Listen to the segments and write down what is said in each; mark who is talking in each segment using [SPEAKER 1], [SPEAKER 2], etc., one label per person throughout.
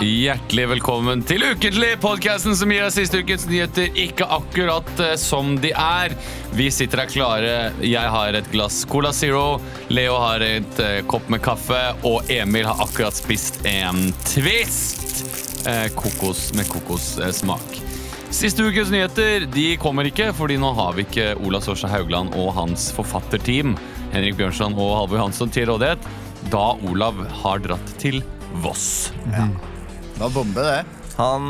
[SPEAKER 1] Hjertelig velkommen til Ukentlig, podkasten som gir deg siste ukens nyheter ikke akkurat eh, som de er. Vi sitter her klare. Jeg har et glass Cola Zero, Leo har et eh, kopp med kaffe, og Emil har akkurat spist en Twist eh, kokos med kokossmak. Siste ukens nyheter de kommer ikke, fordi nå har vi ikke Ola Sorsa Haugland og hans forfatterteam, Henrik Bjørnson og Halvor Hansson, til rådighet, da Olav har dratt til Voss.
[SPEAKER 2] Det var bombe, det.
[SPEAKER 3] Han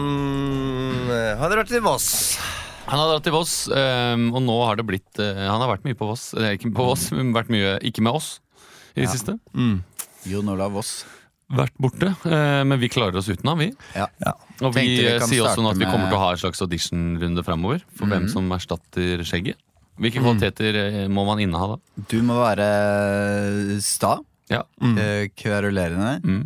[SPEAKER 3] eh, hadde vært i Voss.
[SPEAKER 1] Han har dratt til Voss, øhm, og nå har det blitt øh, Han har vært mye på Voss, eller ikke på Voss, men vært mye ikke med oss i det siste.
[SPEAKER 2] Jon Olav Voss.
[SPEAKER 1] Vært borte, øh, men vi klarer oss uten ham, vi.
[SPEAKER 2] Ja.
[SPEAKER 1] Og vi,
[SPEAKER 2] Tenkte vi
[SPEAKER 1] øh,
[SPEAKER 2] kan
[SPEAKER 1] sier også nå
[SPEAKER 2] starte
[SPEAKER 1] at vi
[SPEAKER 2] med-
[SPEAKER 1] kommer
[SPEAKER 2] Mhm.
[SPEAKER 1] til å ha en slags auditionrunde framover for hvem som erstatter skjegget. Hvilke kvaliteter øh, må man inneha da?
[SPEAKER 2] Du må være sta,
[SPEAKER 1] Ja.
[SPEAKER 3] Mm.
[SPEAKER 2] eh, kverulerende,
[SPEAKER 1] Mm.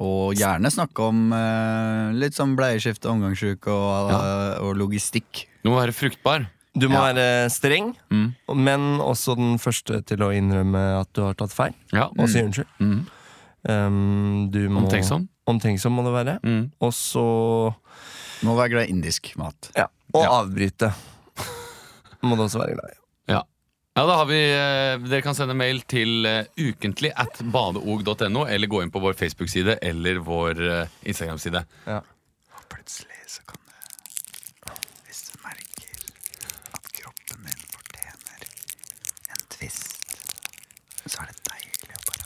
[SPEAKER 2] og gjerne snakke om eh, litt sånn bleieskifte, omgangsuke og, eh, og logistikk.
[SPEAKER 1] Du må være fruktbar.
[SPEAKER 3] Du må
[SPEAKER 2] Ja.
[SPEAKER 3] være streng,
[SPEAKER 1] Mm.
[SPEAKER 3] men også den første til å innrømme at du har tatt feil.
[SPEAKER 1] Ja.
[SPEAKER 3] Og si unnskyld.
[SPEAKER 1] Mm.
[SPEAKER 3] Um, du må,
[SPEAKER 1] Omtenksom.
[SPEAKER 3] Omtenksom må du være.
[SPEAKER 1] Mm.
[SPEAKER 3] Og så
[SPEAKER 2] Må være glad i indisk mat.
[SPEAKER 3] ja, Og
[SPEAKER 1] Ja.
[SPEAKER 3] avbryte. Må du også være glad i.
[SPEAKER 1] Ja. Ja, da har vi, eh, Dere kan sende mail til eh, ukentlig at badeog.no, eller gå inn på vår Facebook-side eller vår eh, Instagram-side.
[SPEAKER 3] Ja.
[SPEAKER 2] Plutselig så kan det Hvis du merker at kroppen din fortjener en tvist, så er det deilig å bare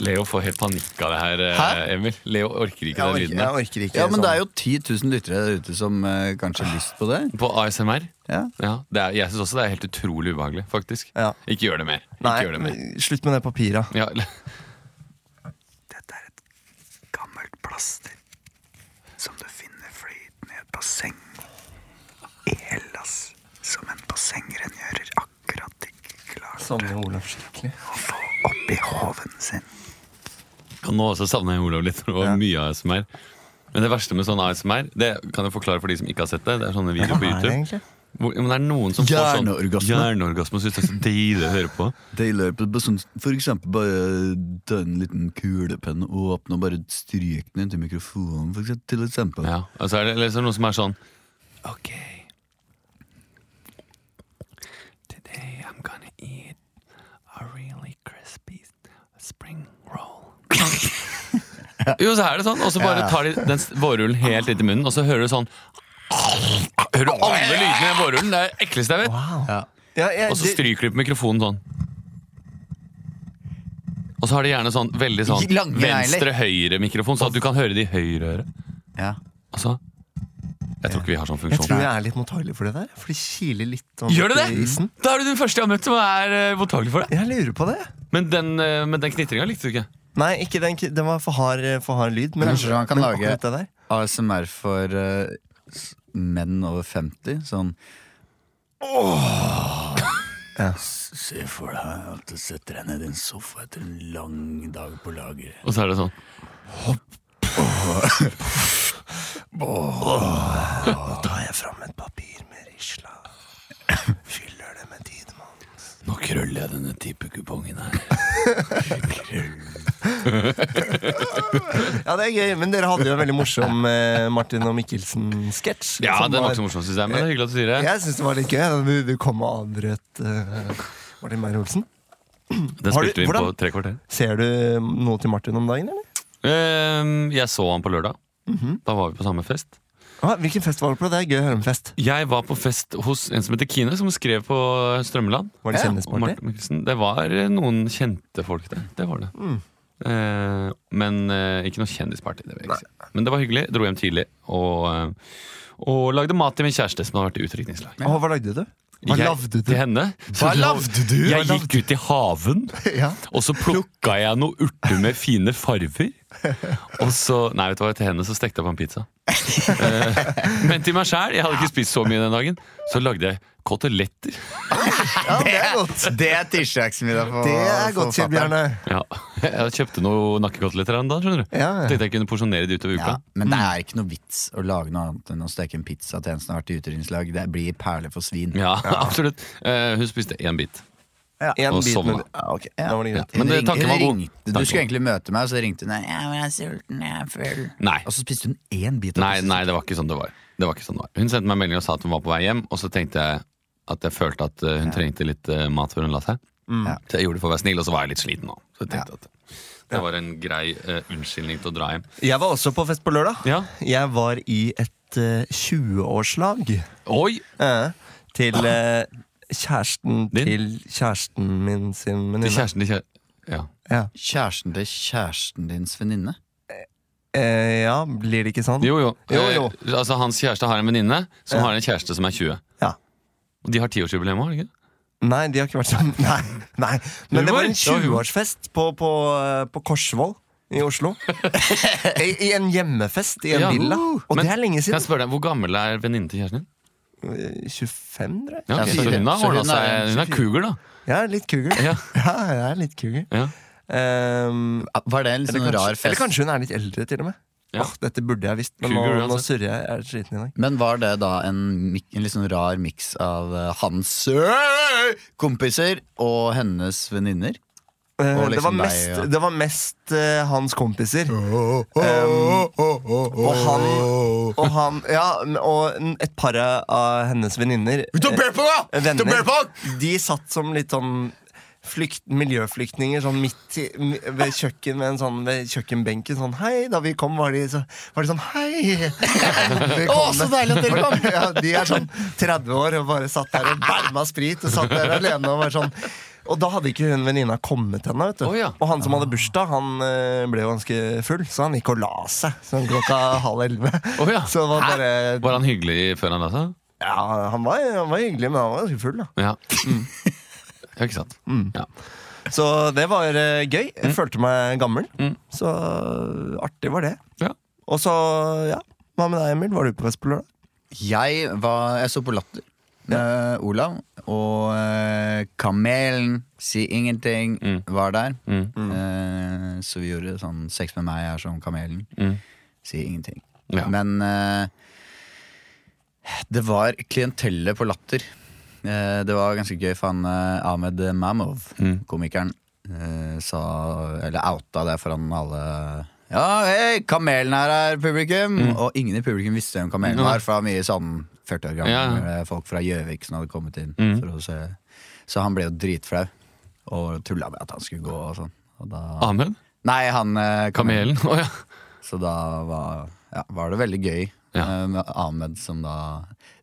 [SPEAKER 1] Leo får helt panikk av det her, eh,
[SPEAKER 2] Hæ?
[SPEAKER 1] Emil. Leo orker ikke den lyden der.
[SPEAKER 3] orker
[SPEAKER 2] Ja, men det er jo 10 000 lyttere der ute som eh, kanskje har lyst på det.
[SPEAKER 1] På ASMR?
[SPEAKER 2] Ja.
[SPEAKER 1] Ja, det er, jeg syns også det er helt utrolig ubehagelig, faktisk.
[SPEAKER 3] Ja.
[SPEAKER 1] Ikke gjør det mer. sånn- Ikke
[SPEAKER 3] Nei,
[SPEAKER 1] gjør det mer.
[SPEAKER 3] slutt med det papiret.
[SPEAKER 1] Ja, l-
[SPEAKER 2] Dette er et gammelt plaster som du finner flytende i et basseng i Hellas. Som en bassengrengjører akkurat ikke klarte
[SPEAKER 3] Som Olav skikkelig.
[SPEAKER 2] å få oppi hoven sin.
[SPEAKER 1] og nå også savner jeg Olav litt, for det var
[SPEAKER 3] Ja.
[SPEAKER 1] mye ASMR. Men det verste med sånn ASMR, det kan jeg forklare for de som ikke har sett det. Det er sånne videoer på
[SPEAKER 3] Hva er det
[SPEAKER 1] YouTube.
[SPEAKER 3] egentlig?
[SPEAKER 1] Hvor, men det er noen som får sånn
[SPEAKER 2] Hjerneorgasme.
[SPEAKER 1] hjerneorgasme og syns det er så deilig å høre på.
[SPEAKER 2] Det løper på sånn, for eksempel bare ta en liten kulepenn og åpne og bare stryke den inntil mikrofonen, for eksempel. Til eksempel.
[SPEAKER 1] Ja, altså er det eller så er det noen som er sånn Ok Today I'm gonna eat a really crispy spring roll Jo, så er det sånn, og så bare tar de den s- vårrullen helt inn i munnen Og så hører du sånn Hører du alle lydene i den vårrullen, det er det ekleste jeg vet
[SPEAKER 3] Ja, jeg,
[SPEAKER 1] Og så
[SPEAKER 3] det-
[SPEAKER 1] stryker de på mikrofonen sånn Og så har de gjerne sånn, veldig sånn
[SPEAKER 2] Lange negler.
[SPEAKER 1] Venstre-høyre mikrofon, så at du kan høre de høyre øret
[SPEAKER 2] Ja.
[SPEAKER 1] Altså Jeg tror ikke vi har sånn
[SPEAKER 3] jeg tror
[SPEAKER 1] funksjon.
[SPEAKER 3] jeg er litt mottagelig for det der. For det kiler litt. sånn
[SPEAKER 1] Gjør det
[SPEAKER 3] i
[SPEAKER 1] det?
[SPEAKER 3] Isen.
[SPEAKER 1] Da er du den første jeg har møtt som er eh, mottagelig for det.
[SPEAKER 3] Jeg lurer på det.
[SPEAKER 1] Men den, uh, den knitringa likte du ikke.
[SPEAKER 3] Nei, ikke den, den var for hard, eh, for hard lyd. Men,
[SPEAKER 2] Kanskje han kan
[SPEAKER 3] men
[SPEAKER 2] lage-
[SPEAKER 3] akkurat det der.
[SPEAKER 2] ASMR for eh, s- menn over 50. Sånn
[SPEAKER 3] Ja.
[SPEAKER 2] S- Se for deg at du setter deg ned i en sofa etter en lang dag på lageret.
[SPEAKER 1] Og så er det sånn.
[SPEAKER 3] Nå tar jeg fram et papir med risla. Fyller det med tidemann.
[SPEAKER 1] Nå krøller jeg denne tippekupongen her.
[SPEAKER 3] Ja, det er gøy, men dere hadde jo en veldig morsom eh, Martin og Mikkelsen-sketsj.
[SPEAKER 1] Ja,
[SPEAKER 3] som
[SPEAKER 1] den var ikke så morsom, synes jeg, men det er hyggelig at du sier det.
[SPEAKER 3] Jeg syns det var litt gøy. da Du, du kom og avbrøt eh, Martin Meyer-Olsen.
[SPEAKER 1] Den
[SPEAKER 3] Har du-
[SPEAKER 1] spilte vi inn på
[SPEAKER 3] hvordan-
[SPEAKER 1] tre kvarter.
[SPEAKER 3] Ser du eh, noe til Martin om dagen, eller?
[SPEAKER 1] Ehm, jeg så han på lørdag. Da var vi på samme fest.
[SPEAKER 3] Ah, hvilken fest var du på? Det er gøy å høre om fest.
[SPEAKER 1] Jeg var på fest hos en som heter Kine, som skrev på Strømmeland.
[SPEAKER 3] Var det
[SPEAKER 2] Ja,
[SPEAKER 1] Og
[SPEAKER 3] kjendisparty?
[SPEAKER 1] Martin Mikkelsen. Det var eh, noen kjente folk der. Det var det.
[SPEAKER 3] Mm.
[SPEAKER 1] Eh, men eh, ikke noe kjendisparty. Det vil jeg ikke si. Men det var hyggelig. Dro hjem tidlig og, eh, og lagde mat til min kjæreste, som har vært i utrykningslag.
[SPEAKER 3] Å, hva lagde du? Hva
[SPEAKER 1] Jeg-
[SPEAKER 3] lagde du?
[SPEAKER 1] Til henne.
[SPEAKER 3] Hva lagde du?
[SPEAKER 1] Jeg
[SPEAKER 3] Hva lagde
[SPEAKER 1] gikk ut i haven,
[SPEAKER 3] Ja.
[SPEAKER 1] og så plukka jeg noen urter med fine farver. Og så Nei, vet du hva, til henne så stekte jeg på en pizza. Eh, men til meg sjæl, jeg hadde ikke spist så mye den dagen, så lagde jeg koteletter.
[SPEAKER 3] ja, det er godt.
[SPEAKER 2] Det er tirsdagsmiddag for
[SPEAKER 3] Det er godt, Kjell Bjarne.
[SPEAKER 1] Ja, Jeg kjøpte noen nakkekoteletter her en dag, skjønner du.
[SPEAKER 3] Ja, ja.
[SPEAKER 1] Tenkte jeg kunne porsjonere de utover uka.
[SPEAKER 2] Ja, men det er ikke noe vits å lage noe annet enn å steke en pizza til en som har vært i utrydningslag. Det blir perler for svin.
[SPEAKER 1] Ja, absolutt. Eh, hun spiste én bit.
[SPEAKER 2] Ja.
[SPEAKER 3] En
[SPEAKER 1] Og
[SPEAKER 3] bit
[SPEAKER 1] sovna.
[SPEAKER 3] med- Ja, ok,
[SPEAKER 2] Ja.
[SPEAKER 3] Da var det greit.
[SPEAKER 1] Ja, men det-
[SPEAKER 2] Ring-
[SPEAKER 1] tanken var god.
[SPEAKER 2] ringte- Du
[SPEAKER 1] Tanken
[SPEAKER 2] skulle egentlig møte meg, og så ringte hun deg. Ja, men jeg er sulten, jeg er full.
[SPEAKER 1] Nei.
[SPEAKER 2] Og så spiste hun én bit. av
[SPEAKER 1] Nei,
[SPEAKER 2] pizzaen.
[SPEAKER 1] nei, det var ikke sånn det var. Det var ikke sånn det var. Hun sendte meg en melding og sa at hun var på vei hjem, og så tenkte jeg at jeg følte at eh, hun trengte litt eh, mat før hun la seg.
[SPEAKER 3] Mm.
[SPEAKER 2] Ja.
[SPEAKER 1] Så jeg gjorde det for å være snill, og så var jeg litt sliten nå. Så jeg tenkte at det var en grei eh, unnskyldning til å dra hjem.
[SPEAKER 3] Jeg var også på fest på lørdag.
[SPEAKER 1] Ja.
[SPEAKER 3] Jeg var i et eh, 20-årslag
[SPEAKER 1] Oi!
[SPEAKER 3] eh, til eh, kjæresten
[SPEAKER 1] Ah. Din?
[SPEAKER 3] til kjæresten min sin
[SPEAKER 1] Til
[SPEAKER 3] venninne.
[SPEAKER 1] kjæresten til kjære... Ja.
[SPEAKER 3] Ja.
[SPEAKER 2] Kjæresten til kjæresten dins venninne?
[SPEAKER 3] Eh, ja, blir det ikke sånn?
[SPEAKER 1] Jo, jo.
[SPEAKER 3] Jo, jo.
[SPEAKER 1] Eh, altså, hans kjæreste har en venninne som
[SPEAKER 3] Ja.
[SPEAKER 1] har en kjæreste som er 20.
[SPEAKER 3] Ja.
[SPEAKER 1] Og de har tiårsjubileum, har de ikke? det?
[SPEAKER 3] Nei, de har ikke vært sånn. Nei, nei. Men det var en
[SPEAKER 1] Humor. Det var humor.
[SPEAKER 3] 20-årsfest på, på, eh, på Korsvoll i Oslo. I, I en hjemmefest i en
[SPEAKER 1] Ja.
[SPEAKER 3] villa. Og
[SPEAKER 1] Men-
[SPEAKER 3] det er lenge
[SPEAKER 1] Kan jeg
[SPEAKER 3] siden.
[SPEAKER 1] spørre deg, Hvor gammel er venninnen til kjæresten din?
[SPEAKER 3] Eh, 25, tror jeg.
[SPEAKER 1] Ja, ok,
[SPEAKER 2] Ja,
[SPEAKER 1] så
[SPEAKER 2] fire.
[SPEAKER 1] hun har
[SPEAKER 2] Så hun
[SPEAKER 1] ordna seg.
[SPEAKER 2] er-
[SPEAKER 1] Hun er cougar, da.
[SPEAKER 3] Jeg er litt kugel.
[SPEAKER 1] Ja.
[SPEAKER 3] Ja, jeg er litt kugel.
[SPEAKER 1] Ja.
[SPEAKER 3] Um,
[SPEAKER 2] Var det en litt
[SPEAKER 3] eller,
[SPEAKER 2] sånn
[SPEAKER 3] kanskje,
[SPEAKER 2] rar
[SPEAKER 3] eller
[SPEAKER 2] fest?
[SPEAKER 3] kanskje hun er litt eldre, til og med.
[SPEAKER 1] Ja.
[SPEAKER 3] Åh, dette burde jeg visst, men nå,
[SPEAKER 1] Cougar,
[SPEAKER 3] nå
[SPEAKER 1] uansett.
[SPEAKER 3] surrer jeg. Jeg er sliten i dag.
[SPEAKER 2] Men var det da en, mik- en litt sånn rar miks av eh, hans øh, kompiser og hennes venninner?
[SPEAKER 3] Eh,
[SPEAKER 2] Og
[SPEAKER 3] det, var
[SPEAKER 2] liksom deg,
[SPEAKER 3] mest,
[SPEAKER 2] ja.
[SPEAKER 3] det var mest eh, hans kompiser. Um, og han Og han Ja, og en- et par av hennes venninner eh, Venner. De satt som litt sånn flykt, miljøflyktninger sånn midt i, mi- ved, kjøkken, med en sånn, ved kjøkkenbenken. Sånn hei, da vi kom, var de, så, var de sånn hei! Å, så deilig at dere kom! Ja, de er sånn 30 år og bare satt der og bælma sprit og satt der alene og var sånn. Og da hadde ikke hun venninna kommet ennå. vet du.
[SPEAKER 1] Å, ja.
[SPEAKER 3] Og han som hadde bursdag, han eh, ble jo ganske full, så han gikk og la seg sånn klokka halv elleve.
[SPEAKER 1] Å, ja.
[SPEAKER 3] Så det var bare
[SPEAKER 1] Var han hyggelig før han la seg?
[SPEAKER 3] Ja, han var, han var hyggelig, men han var ganske full, da.
[SPEAKER 1] Ja. Mm. ja, ikke sant.
[SPEAKER 2] Mm.
[SPEAKER 1] Ja.
[SPEAKER 3] Så det var eh, gøy. Jeg følte meg gammel. Så eh, artig var det.
[SPEAKER 1] Ja.
[SPEAKER 3] Og så, ja. Hva med deg, Emil? Var du på fest på lørdag?
[SPEAKER 2] Jeg, var, jeg så på Latter med Olav, og eh, Kamelen, Si ingenting,
[SPEAKER 3] Mm.
[SPEAKER 2] var der. Eh, så vi gjorde sånn Sex med meg er som Kamelen.
[SPEAKER 3] Mm.
[SPEAKER 2] Si ingenting.
[SPEAKER 1] Ja.
[SPEAKER 2] Men eh, det var klientellet på Latter. Eh, det var ganske gøy, for han eh, Ahmed Mamov, komikeren, eh, sa Eller outa det foran alle. Ja, hei, kamelen her er publikum! Og ingen i publikum visste hvem kamelen var, for det var mye sånn 40 år gamle folk fra Gjøvik som hadde kommet inn. For å se. Så han ble jo dritflau og tulla med at han skulle gå og sånn. Og da,
[SPEAKER 1] Ahmed?
[SPEAKER 2] nei, han eh, kamelen.
[SPEAKER 1] Kamelen? Å ja.
[SPEAKER 2] Så da var, ja, var det veldig gøy
[SPEAKER 1] Ja.
[SPEAKER 2] eh, med Ahmed som da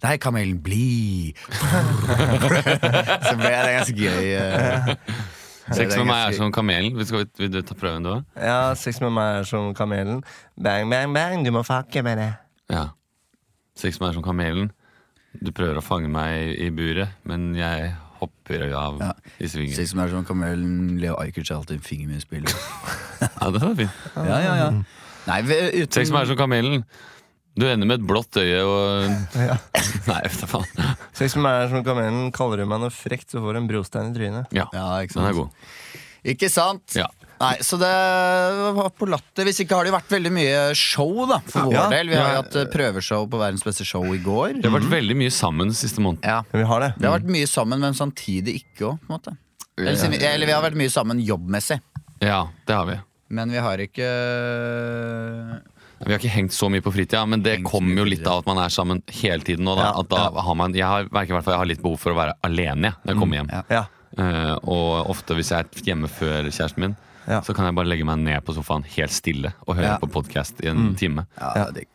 [SPEAKER 2] Nei, kamelen, bli! så ble det ganske gøy. eh. Det
[SPEAKER 1] Sex
[SPEAKER 2] er
[SPEAKER 1] med meg er
[SPEAKER 2] ganske-
[SPEAKER 1] som kamelen. Vi skal, vil du ta prøven, du òg?
[SPEAKER 3] Ja, sex med meg er som kamelen. Bang, bang, bang, du må fucke med det.
[SPEAKER 1] Ja. Sex med meg er som kamelen. Du prøver å fange meg i buret, men jeg hopper av
[SPEAKER 2] Ja.
[SPEAKER 1] i svingen.
[SPEAKER 2] Slik som er som kamelen, Leo Ajkic er alltid en finger med i spillet.
[SPEAKER 1] Ja, det var fint.
[SPEAKER 2] Ja, ja, ja. Nei, ved- uten
[SPEAKER 1] Sex med meg er som kamelen. Du ender med et blått øye og Nei, vet du faen.
[SPEAKER 3] Sex med meg er som kamelen. Kaller du meg noe frekt, så får du en brostein i trynet.
[SPEAKER 1] Ja.
[SPEAKER 2] Ja, ikke
[SPEAKER 1] Den
[SPEAKER 2] sant?
[SPEAKER 1] er god.
[SPEAKER 2] Ikke sant?
[SPEAKER 1] sånn- Ja.
[SPEAKER 2] Nei, så det var på latter. Hvis ikke har det jo vært veldig mye show, da, for vår
[SPEAKER 3] Ja.
[SPEAKER 2] del. Vi har jo
[SPEAKER 1] Ja.
[SPEAKER 2] hatt eh, prøveshow på Verdens beste show i går.
[SPEAKER 1] Vi har vært veldig mye sammen siste måneden.
[SPEAKER 2] Ja.
[SPEAKER 3] Men vi har det.
[SPEAKER 2] Det har vært mye sammen, men samtidig ikke òg, på en måte. Eller, siden vi- eller vi har vært mye sammen jobbmessig,
[SPEAKER 1] Ja, det har vi.
[SPEAKER 2] men vi har ikke
[SPEAKER 1] Vi har ikke hengt så mye på fritida, men det
[SPEAKER 2] Hengt så mye
[SPEAKER 1] kommer jo
[SPEAKER 2] på
[SPEAKER 1] litt
[SPEAKER 2] fritida.
[SPEAKER 1] av at man er sammen hele tiden. Og da,
[SPEAKER 3] Ja,
[SPEAKER 1] at da har man, jeg har, merker i hvert fall jeg har litt behov for å være alene jeg, når jeg kommer hjem.
[SPEAKER 2] Mm, ja.
[SPEAKER 3] Ja.
[SPEAKER 1] Eh, og ofte hvis jeg er hjemme før kjæresten min,
[SPEAKER 3] Ja.
[SPEAKER 1] så kan jeg bare legge meg ned på sofaen helt stille og høre
[SPEAKER 2] Ja. Mm.
[SPEAKER 1] på podkast i en time.
[SPEAKER 2] Ja,
[SPEAKER 3] Ja.
[SPEAKER 2] det er digg.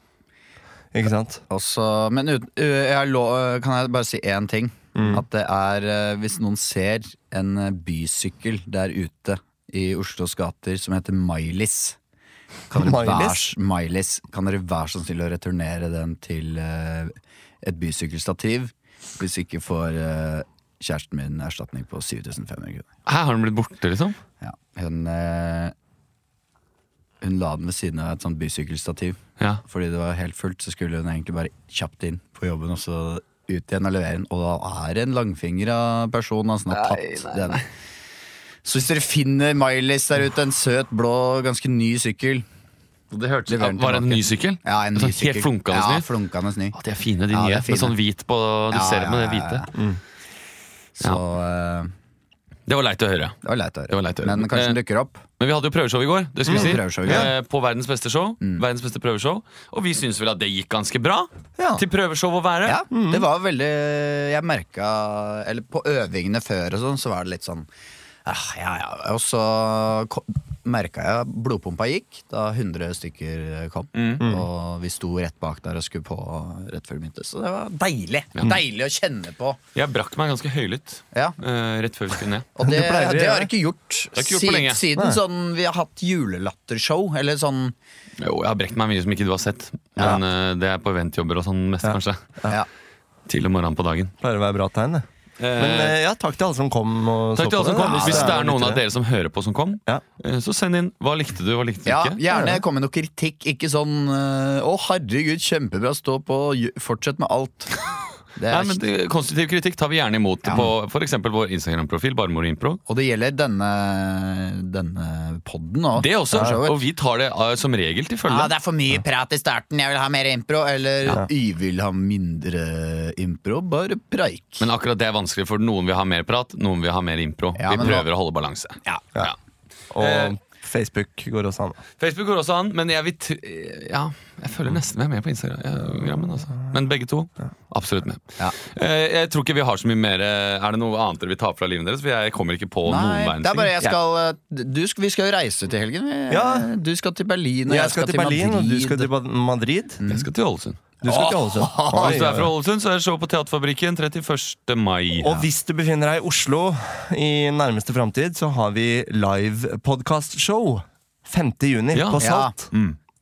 [SPEAKER 3] Ikke sant?
[SPEAKER 2] Også, men ut, ø, jeg har lov, ø, kan jeg bare si én ting? At det er ø, Hvis noen ser en ø, bysykkel der ute i Oslos gater som heter Mailis kan dere
[SPEAKER 3] Mailis?
[SPEAKER 2] være s- Mailis, kan dere være så snill å returnere den til ø, et bysykkelstativ? Hvis ikke får ø, kjæresten min erstatning på 7500 kroner.
[SPEAKER 1] Her har den blitt borte, liksom.
[SPEAKER 2] Ja, hun, eh, hun la den ved siden av et sånt bysykkelstativ.
[SPEAKER 1] Ja.
[SPEAKER 2] Fordi det var helt fullt, så skulle hun egentlig bare kjapt inn på jobben og så ut igjen og levere den. Og da er det en langfingra person da, som har tatt altså, den. Så hvis dere finner Miley's der ute, en søt, blå, ganske ny sykkel
[SPEAKER 1] Det hørtes
[SPEAKER 2] Leverer den
[SPEAKER 1] Var det en ny
[SPEAKER 2] tilbake.
[SPEAKER 1] sykkel?
[SPEAKER 2] Ja, en ny
[SPEAKER 1] sånn
[SPEAKER 2] sykkel.
[SPEAKER 1] Helt flunkende
[SPEAKER 2] ja,
[SPEAKER 1] ny?
[SPEAKER 2] flunkende ny.
[SPEAKER 1] Å, de er fine, de
[SPEAKER 2] Ja, de
[SPEAKER 1] nye.
[SPEAKER 2] er fine.
[SPEAKER 1] Med sånn hvit på Du
[SPEAKER 2] Ja, Mm.
[SPEAKER 1] ser det med
[SPEAKER 2] ja,
[SPEAKER 1] det
[SPEAKER 2] ja,
[SPEAKER 1] hvite.
[SPEAKER 2] Så eh,
[SPEAKER 1] Det var leit å høre.
[SPEAKER 2] Det var leit å
[SPEAKER 1] Det var leit å høre. Eh,
[SPEAKER 2] Men kanskje den dukker opp.
[SPEAKER 1] Men vi hadde jo prøveshow i går. Mm. det skulle
[SPEAKER 2] Mm,
[SPEAKER 1] vi si
[SPEAKER 2] prøveshow i går.
[SPEAKER 1] Eh, På verdens beste show. Verdens beste prøveshow Og vi syns vel at det gikk ganske bra
[SPEAKER 3] Ja.
[SPEAKER 1] til prøveshow å være.
[SPEAKER 2] Ja, det var veldig Jeg merka Eller på øvingene før og sånn, så var det litt sånn ah, Ja, ja. Og så merka jeg blodpumpa gikk da 100 stykker kom. Og vi sto rett bak der og skulle på rett før vi begynte. Så det var deilig. Deilig å kjenne på.
[SPEAKER 1] Jeg brakk meg ganske høylytt
[SPEAKER 2] Ja.
[SPEAKER 1] eh, rett før vi skulle ned.
[SPEAKER 2] Og det,
[SPEAKER 3] Det pleier
[SPEAKER 2] det,
[SPEAKER 3] vi,
[SPEAKER 2] har
[SPEAKER 3] ja.
[SPEAKER 2] jeg ikke gjort,
[SPEAKER 1] har ikke gjort på
[SPEAKER 2] siden,
[SPEAKER 1] lenge.
[SPEAKER 2] siden sånn, vi har hatt julelattershow. Eller sånn
[SPEAKER 1] Jo, jeg har brekt meg mye som ikke du har sett.
[SPEAKER 2] Ja.
[SPEAKER 1] Men eh, det er på eventjobber og sånn mest, kanskje.
[SPEAKER 2] ja.
[SPEAKER 1] Til om morgenen på dagen.
[SPEAKER 3] Pleier å være bra tegn, det. Men
[SPEAKER 1] Eh,
[SPEAKER 3] eh, ja, takk til alle som kom. Og
[SPEAKER 1] Takk
[SPEAKER 3] så
[SPEAKER 1] til alle
[SPEAKER 3] på
[SPEAKER 1] som kom.
[SPEAKER 3] Ja,
[SPEAKER 1] Hvis det er noen
[SPEAKER 3] litt
[SPEAKER 1] av dere som hører på som kom,
[SPEAKER 3] Ja.
[SPEAKER 1] eh, så send inn. Hva likte du, hva likte du
[SPEAKER 2] Ja,
[SPEAKER 1] ikke?
[SPEAKER 2] gjerne kom med noe kritikk. Ikke sånn eh, 'Å, herregud, kjempebra, stå på, ju- fortsett med alt'. Det
[SPEAKER 1] Nei,
[SPEAKER 2] er,
[SPEAKER 1] men det- Konstruktiv kritikk tar vi gjerne imot på f.eks. vår Instagram-profil, Barmor Impro.
[SPEAKER 2] og det gjelder denne, denne podden òg.
[SPEAKER 1] Det også, og vi tar det eh, som regel til følge.
[SPEAKER 2] Ja, det er for mye prat i starten, jeg vil ha mer impro. Eller jeg vil ha mindre impro, bare preik.
[SPEAKER 1] Men akkurat det er vanskelig, for noen vil ha mer prat, noen vil ha mer impro.
[SPEAKER 2] Ja,
[SPEAKER 1] vi
[SPEAKER 2] men nå-
[SPEAKER 1] prøver å holde balanse.
[SPEAKER 2] Ja.
[SPEAKER 1] Ja.
[SPEAKER 3] Og Facebook går også an.
[SPEAKER 1] Facebook går også an, men jeg vil tr Ja, jeg føler nesten vi er med på Instagram. ja, men altså. Men begge to, absolutt med.
[SPEAKER 2] Ja.
[SPEAKER 1] Eh, Jeg tror ikke vi har så mye mer eh, Er det noe annet dere vil ta fra livet deres? For jeg kommer ikke på noen
[SPEAKER 2] Nei,
[SPEAKER 1] verdens
[SPEAKER 2] det er bare
[SPEAKER 1] ting.
[SPEAKER 2] jeg skal, eh, du, skal- Vi skal jo reise til helgen. Vi,
[SPEAKER 3] Ja.
[SPEAKER 2] Du skal til Berlin, og
[SPEAKER 3] Jeg skal til Berlin, og du skal til Ba- Madrid.
[SPEAKER 1] Jeg skal til Ålesund.
[SPEAKER 3] Du skal til Ålesund. Oi,
[SPEAKER 1] Hvis du er
[SPEAKER 3] oi,
[SPEAKER 1] fra
[SPEAKER 3] oi.
[SPEAKER 1] Ålesund, så er det show på Teaterfabrikken 31. mai.
[SPEAKER 3] Og hvis du befinner deg i Oslo i nærmeste framtid, så har vi live podkastshow 5. juni
[SPEAKER 1] Ja. Mm.
[SPEAKER 3] på Salt.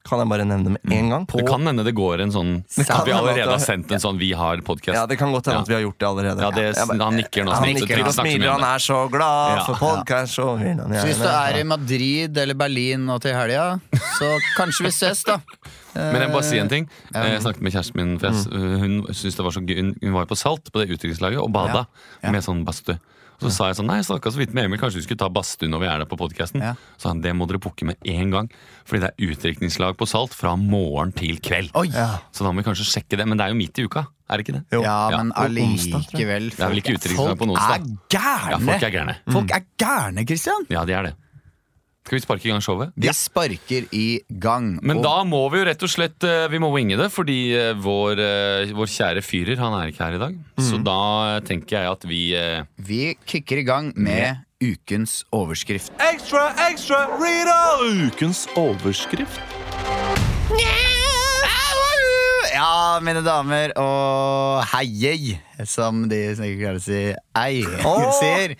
[SPEAKER 3] Kan jeg bare nevne med en gang?
[SPEAKER 1] Det kan hende det går en sånn At vi
[SPEAKER 3] hende at
[SPEAKER 1] allerede
[SPEAKER 3] det-
[SPEAKER 1] har sendt en sånn 'Vi har podcast
[SPEAKER 3] Ja, det kan godt hende at vi har gjort det allerede.
[SPEAKER 1] Ja, det,
[SPEAKER 3] Jeg bare-
[SPEAKER 1] han nikker nå. så
[SPEAKER 3] han
[SPEAKER 1] ikke-
[SPEAKER 3] nikker
[SPEAKER 1] ikke
[SPEAKER 3] og
[SPEAKER 1] snakke så mye
[SPEAKER 3] smiler,
[SPEAKER 1] om
[SPEAKER 3] han
[SPEAKER 1] det.
[SPEAKER 3] er så glad
[SPEAKER 1] Ja.
[SPEAKER 3] for podkast. og vil han
[SPEAKER 2] Så hvis du
[SPEAKER 3] gjerne-
[SPEAKER 2] er i Madrid eller Berlin nå til helga, så kanskje vi ses, da.
[SPEAKER 1] Men jeg må bare si en ting.
[SPEAKER 2] Eh,
[SPEAKER 1] Eh, Jeg snakket med kjæresten min, for jeg, s-
[SPEAKER 2] Mm.
[SPEAKER 1] hun syntes det var så gøy. Hun- Hun var jo på Salt, på det utdrikningslaget, og bada med sånn badstue. Og så sa jeg sånn, nei, jeg snakka så vidt med Emil, kanskje vi skulle ta badstue når vi er der på podkasten.
[SPEAKER 2] Ja.
[SPEAKER 1] Så han, det må dere pukke med en gang, fordi det er utdrikningslag på Salt fra morgen til kveld.
[SPEAKER 2] Oi.
[SPEAKER 1] Så da må vi kanskje sjekke det. Men det er jo midt i uka, er det ikke det?
[SPEAKER 3] Jo.
[SPEAKER 2] Ja,
[SPEAKER 1] Ja,
[SPEAKER 2] men
[SPEAKER 3] og onsdag, tror
[SPEAKER 2] allikevel
[SPEAKER 1] er vel ikke utdrikningslag på noen
[SPEAKER 2] Folk er
[SPEAKER 1] onsdag. Ja,
[SPEAKER 2] gærne! Mm.
[SPEAKER 1] folk er gærne.
[SPEAKER 2] Folk er gærne, Christian!
[SPEAKER 1] Ja, de er det. Skal vi sparke i gang showet?
[SPEAKER 2] De sparker i gang.
[SPEAKER 1] Men
[SPEAKER 2] og-
[SPEAKER 1] da må vi jo rett og slett eh, Vi må winge det, fordi eh, vår, eh, vår kjære fyrer Han er ikke her i dag. Så
[SPEAKER 2] Mm.
[SPEAKER 1] da eh, tenker jeg at vi eh,
[SPEAKER 2] Vi kicker i gang med ukens overskrift.
[SPEAKER 3] Ukens overskrift.
[SPEAKER 2] Ja, mine damer og heiei, som de som ikke klarer å si ei, sier.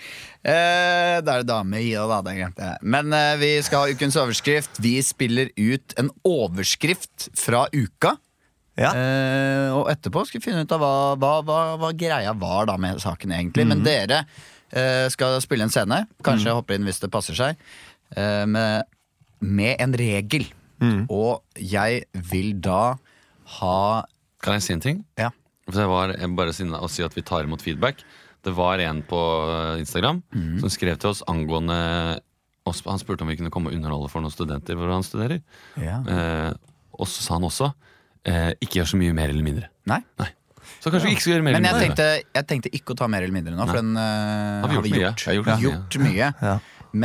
[SPEAKER 2] Eh, da er det dame i og da, det glemte jeg. Men eh, vi skal ha ukens overskrift. Vi spiller ut en overskrift fra uka.
[SPEAKER 3] Ja.
[SPEAKER 2] Eh, og etterpå skal vi finne ut av hva, hva, hva, hva greia var da med saken egentlig.
[SPEAKER 1] Mhm.
[SPEAKER 2] Men dere eh, skal spille en scene, kanskje hoppe inn hvis det passer seg, eh, med, med en regel.
[SPEAKER 1] Mhm.
[SPEAKER 2] Og jeg vil da ha
[SPEAKER 1] Kan jeg si en ting?
[SPEAKER 2] Ja.
[SPEAKER 1] For det var, jeg må bare si, å si at vi tar imot feedback. Det var en på eh, Instagram
[SPEAKER 4] Mhm.
[SPEAKER 1] som skrev til oss angående oss, Han spurte om vi kunne komme og underholde for noen studenter hvor han studerer. Eh, og så sa han også eh, ikke gjør så mye mer eller mindre.
[SPEAKER 2] Nei.
[SPEAKER 1] Nei. Så kanskje vi ikke skal gjøre mer
[SPEAKER 2] Men jeg
[SPEAKER 1] eller mindre.
[SPEAKER 2] tenkte, jeg tenkte ikke å ta mer eller mindre nå, for den eh,
[SPEAKER 1] Har vi
[SPEAKER 2] har
[SPEAKER 1] gjort
[SPEAKER 2] vi
[SPEAKER 1] mye?
[SPEAKER 2] gjort,
[SPEAKER 1] Jeg har gjort
[SPEAKER 2] gjort mye.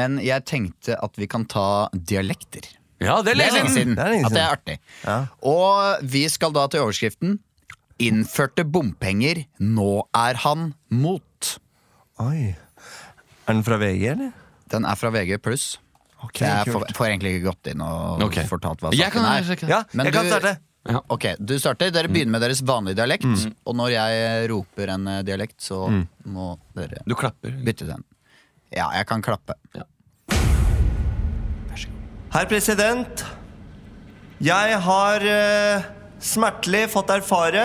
[SPEAKER 2] Men jeg tenkte at vi kan ta dialekter.
[SPEAKER 1] Ja, det er
[SPEAKER 2] Det er lenge siden.
[SPEAKER 3] Det er lenge
[SPEAKER 2] At det er artig. Og vi skal da til overskriften. Innførte bompenger, nå er han mot.
[SPEAKER 3] Oi. Er den fra VG, eller?
[SPEAKER 2] Den er fra VG pluss.
[SPEAKER 3] Ok,
[SPEAKER 2] Jeg får,
[SPEAKER 3] kult.
[SPEAKER 2] får egentlig ikke gått inn og
[SPEAKER 1] Ok.
[SPEAKER 2] fortalt hva
[SPEAKER 1] Jeg
[SPEAKER 2] saken
[SPEAKER 1] kan
[SPEAKER 2] er.
[SPEAKER 1] sjekke det.
[SPEAKER 3] Ja,
[SPEAKER 2] Men
[SPEAKER 3] jeg kan
[SPEAKER 2] du-
[SPEAKER 3] starte.
[SPEAKER 1] Ja. Mm.
[SPEAKER 2] Ok, du starter. Dere begynner med deres vanlige dialekt. Og når jeg roper en eh, dialekt, så må dere
[SPEAKER 1] Mm. Du klapper.
[SPEAKER 2] bytte den. Ja, jeg kan klappe.
[SPEAKER 3] Herr president, jeg har eh, smertelig fått erfare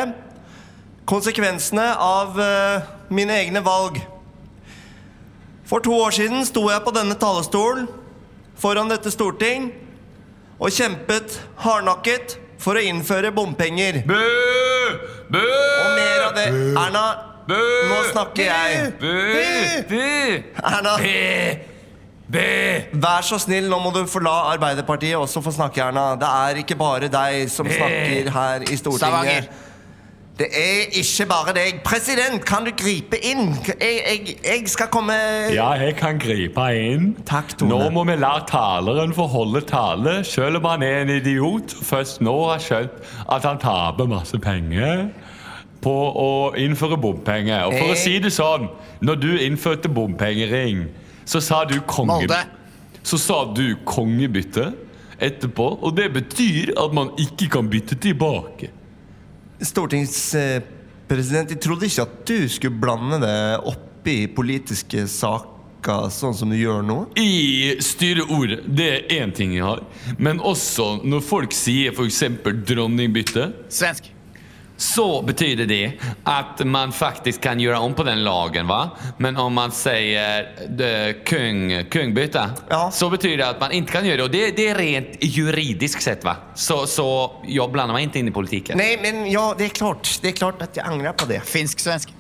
[SPEAKER 3] konsekvensene av eh, mine egne valg. For to år siden sto jeg på denne talerstolen foran dette storting og kjempet hardnakket for å innføre bompenger.
[SPEAKER 1] Bø! Bø!
[SPEAKER 3] Og mer av det. Erna,
[SPEAKER 1] Bø!
[SPEAKER 3] nå snakker jeg.
[SPEAKER 1] Bø! Bø!
[SPEAKER 3] Erna,
[SPEAKER 1] Bø!
[SPEAKER 3] vær så snill, nå må du få la Arbeiderpartiet også få snakke, Erna. Det er ikke bare deg som snakker her i Stortinget.
[SPEAKER 2] Stavanger.
[SPEAKER 3] Det er ikke bare deg. President, kan du gripe inn? Jeg, jeg, jeg skal komme
[SPEAKER 4] Ja, jeg kan gripe inn.
[SPEAKER 3] Takk, Tone.
[SPEAKER 4] Nå må vi la taleren få holde tale, selv om han er en idiot. Først nå har skjønt at han taper masse penger på å innføre bompenger. Og
[SPEAKER 5] Eh.
[SPEAKER 4] for å si det sånn, når du innførte bompengering, så sa du konge...
[SPEAKER 2] Molde.
[SPEAKER 4] Så sa du kongebytte etterpå, og det betyr at man ikke kan bytte tilbake.
[SPEAKER 3] Stortingspresident, jeg trodde ikke at du skulle blande det opp i politiske saker sånn som du gjør nå.
[SPEAKER 4] I styreordet, det er én ting jeg har. Men også når folk sier f.eks. dronningbytte,
[SPEAKER 2] Svensk.
[SPEAKER 1] Så betyder det att man faktiskt kan göra om på den lagen va? Men om man säger eh, kung, kungbyte
[SPEAKER 3] Ja.
[SPEAKER 1] så betyder det att man inte kan göra det. Och det, det är rent juridiskt sett va? Så, så jag blandar mig inte in i politiken.
[SPEAKER 3] Nei, men ja, det er klart. Det er klart at jeg angrer på det.
[SPEAKER 2] Finsk-svensk.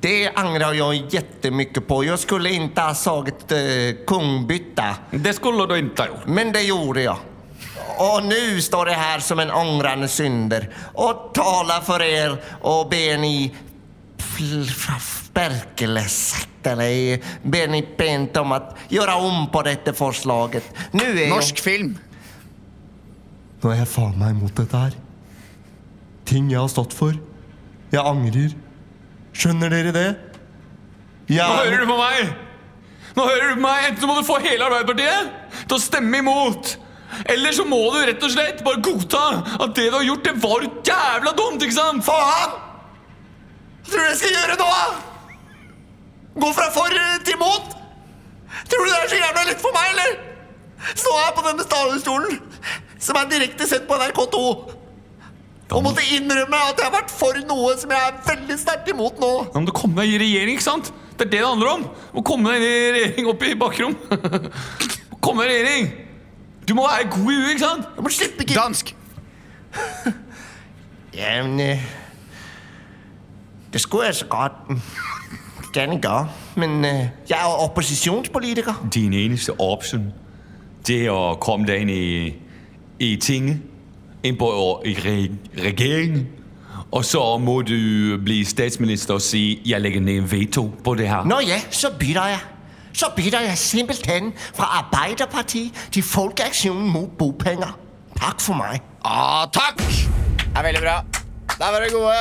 [SPEAKER 3] Det angrer jeg jättemycket på. Jeg skulle ikke ha sagt eh, kungbytte.
[SPEAKER 1] Det skulle du inte ha gjort.
[SPEAKER 3] Men det gjorde jag. Och nu står det här som en ångrande synder och talar för er och ber ni fl- fra- sperkeläskt, eller ber ni pent om att göra om på detta förslaget. Nu är
[SPEAKER 2] Norsk film.
[SPEAKER 3] Nå er jeg faen meg imot dette her. Ting jeg har stått for. Jeg angrer. Skjønner dere det? Jeg...
[SPEAKER 1] Nå hører du på meg! Nå hører du på meg! Enten så må du få hele Arbeiderpartiet til å stemme imot, eller så må du rett og slett bare godta at det du har gjort, det var jævla dumt, ikke sant?
[SPEAKER 3] Faen! Hva tror du jeg skal gjøre nå? da? Gå fra for til mot? Tror du det er så jævla lett for meg, eller? Stå her på denne talerstolen, som er direkte sett på NRK2, og måtte innrømme at jeg har vært for noe som jeg er veldig sterkt imot nå.
[SPEAKER 1] Nå må du komme deg i regjering, ikke sant? Det er det det handler om. Du må komme deg inn i regjering opp i bakrom. komme deg i regjering! Du må være god i huet, ikke sant?
[SPEAKER 3] Jeg må slippe ikke
[SPEAKER 2] Dansk.
[SPEAKER 3] Jamen, øh, det skulle jeg så godt øh, gerne gøre, men øh, jeg er jo oppositionspolitiker.
[SPEAKER 4] Din eneste option, det er å komme deg inn i, i tinget, inn på i re, regjeringen. Og så må du bli statsminister og si 'jeg legger ned veto på det her'.
[SPEAKER 3] Nå ja, så bytter jeg. Så bytter jeg simpelthen fra Arbeiderparti til Folkeaksjonen mot bopenger. Takk for meg.
[SPEAKER 2] Ah, takk! Det er veldig bra. Der var dere gode.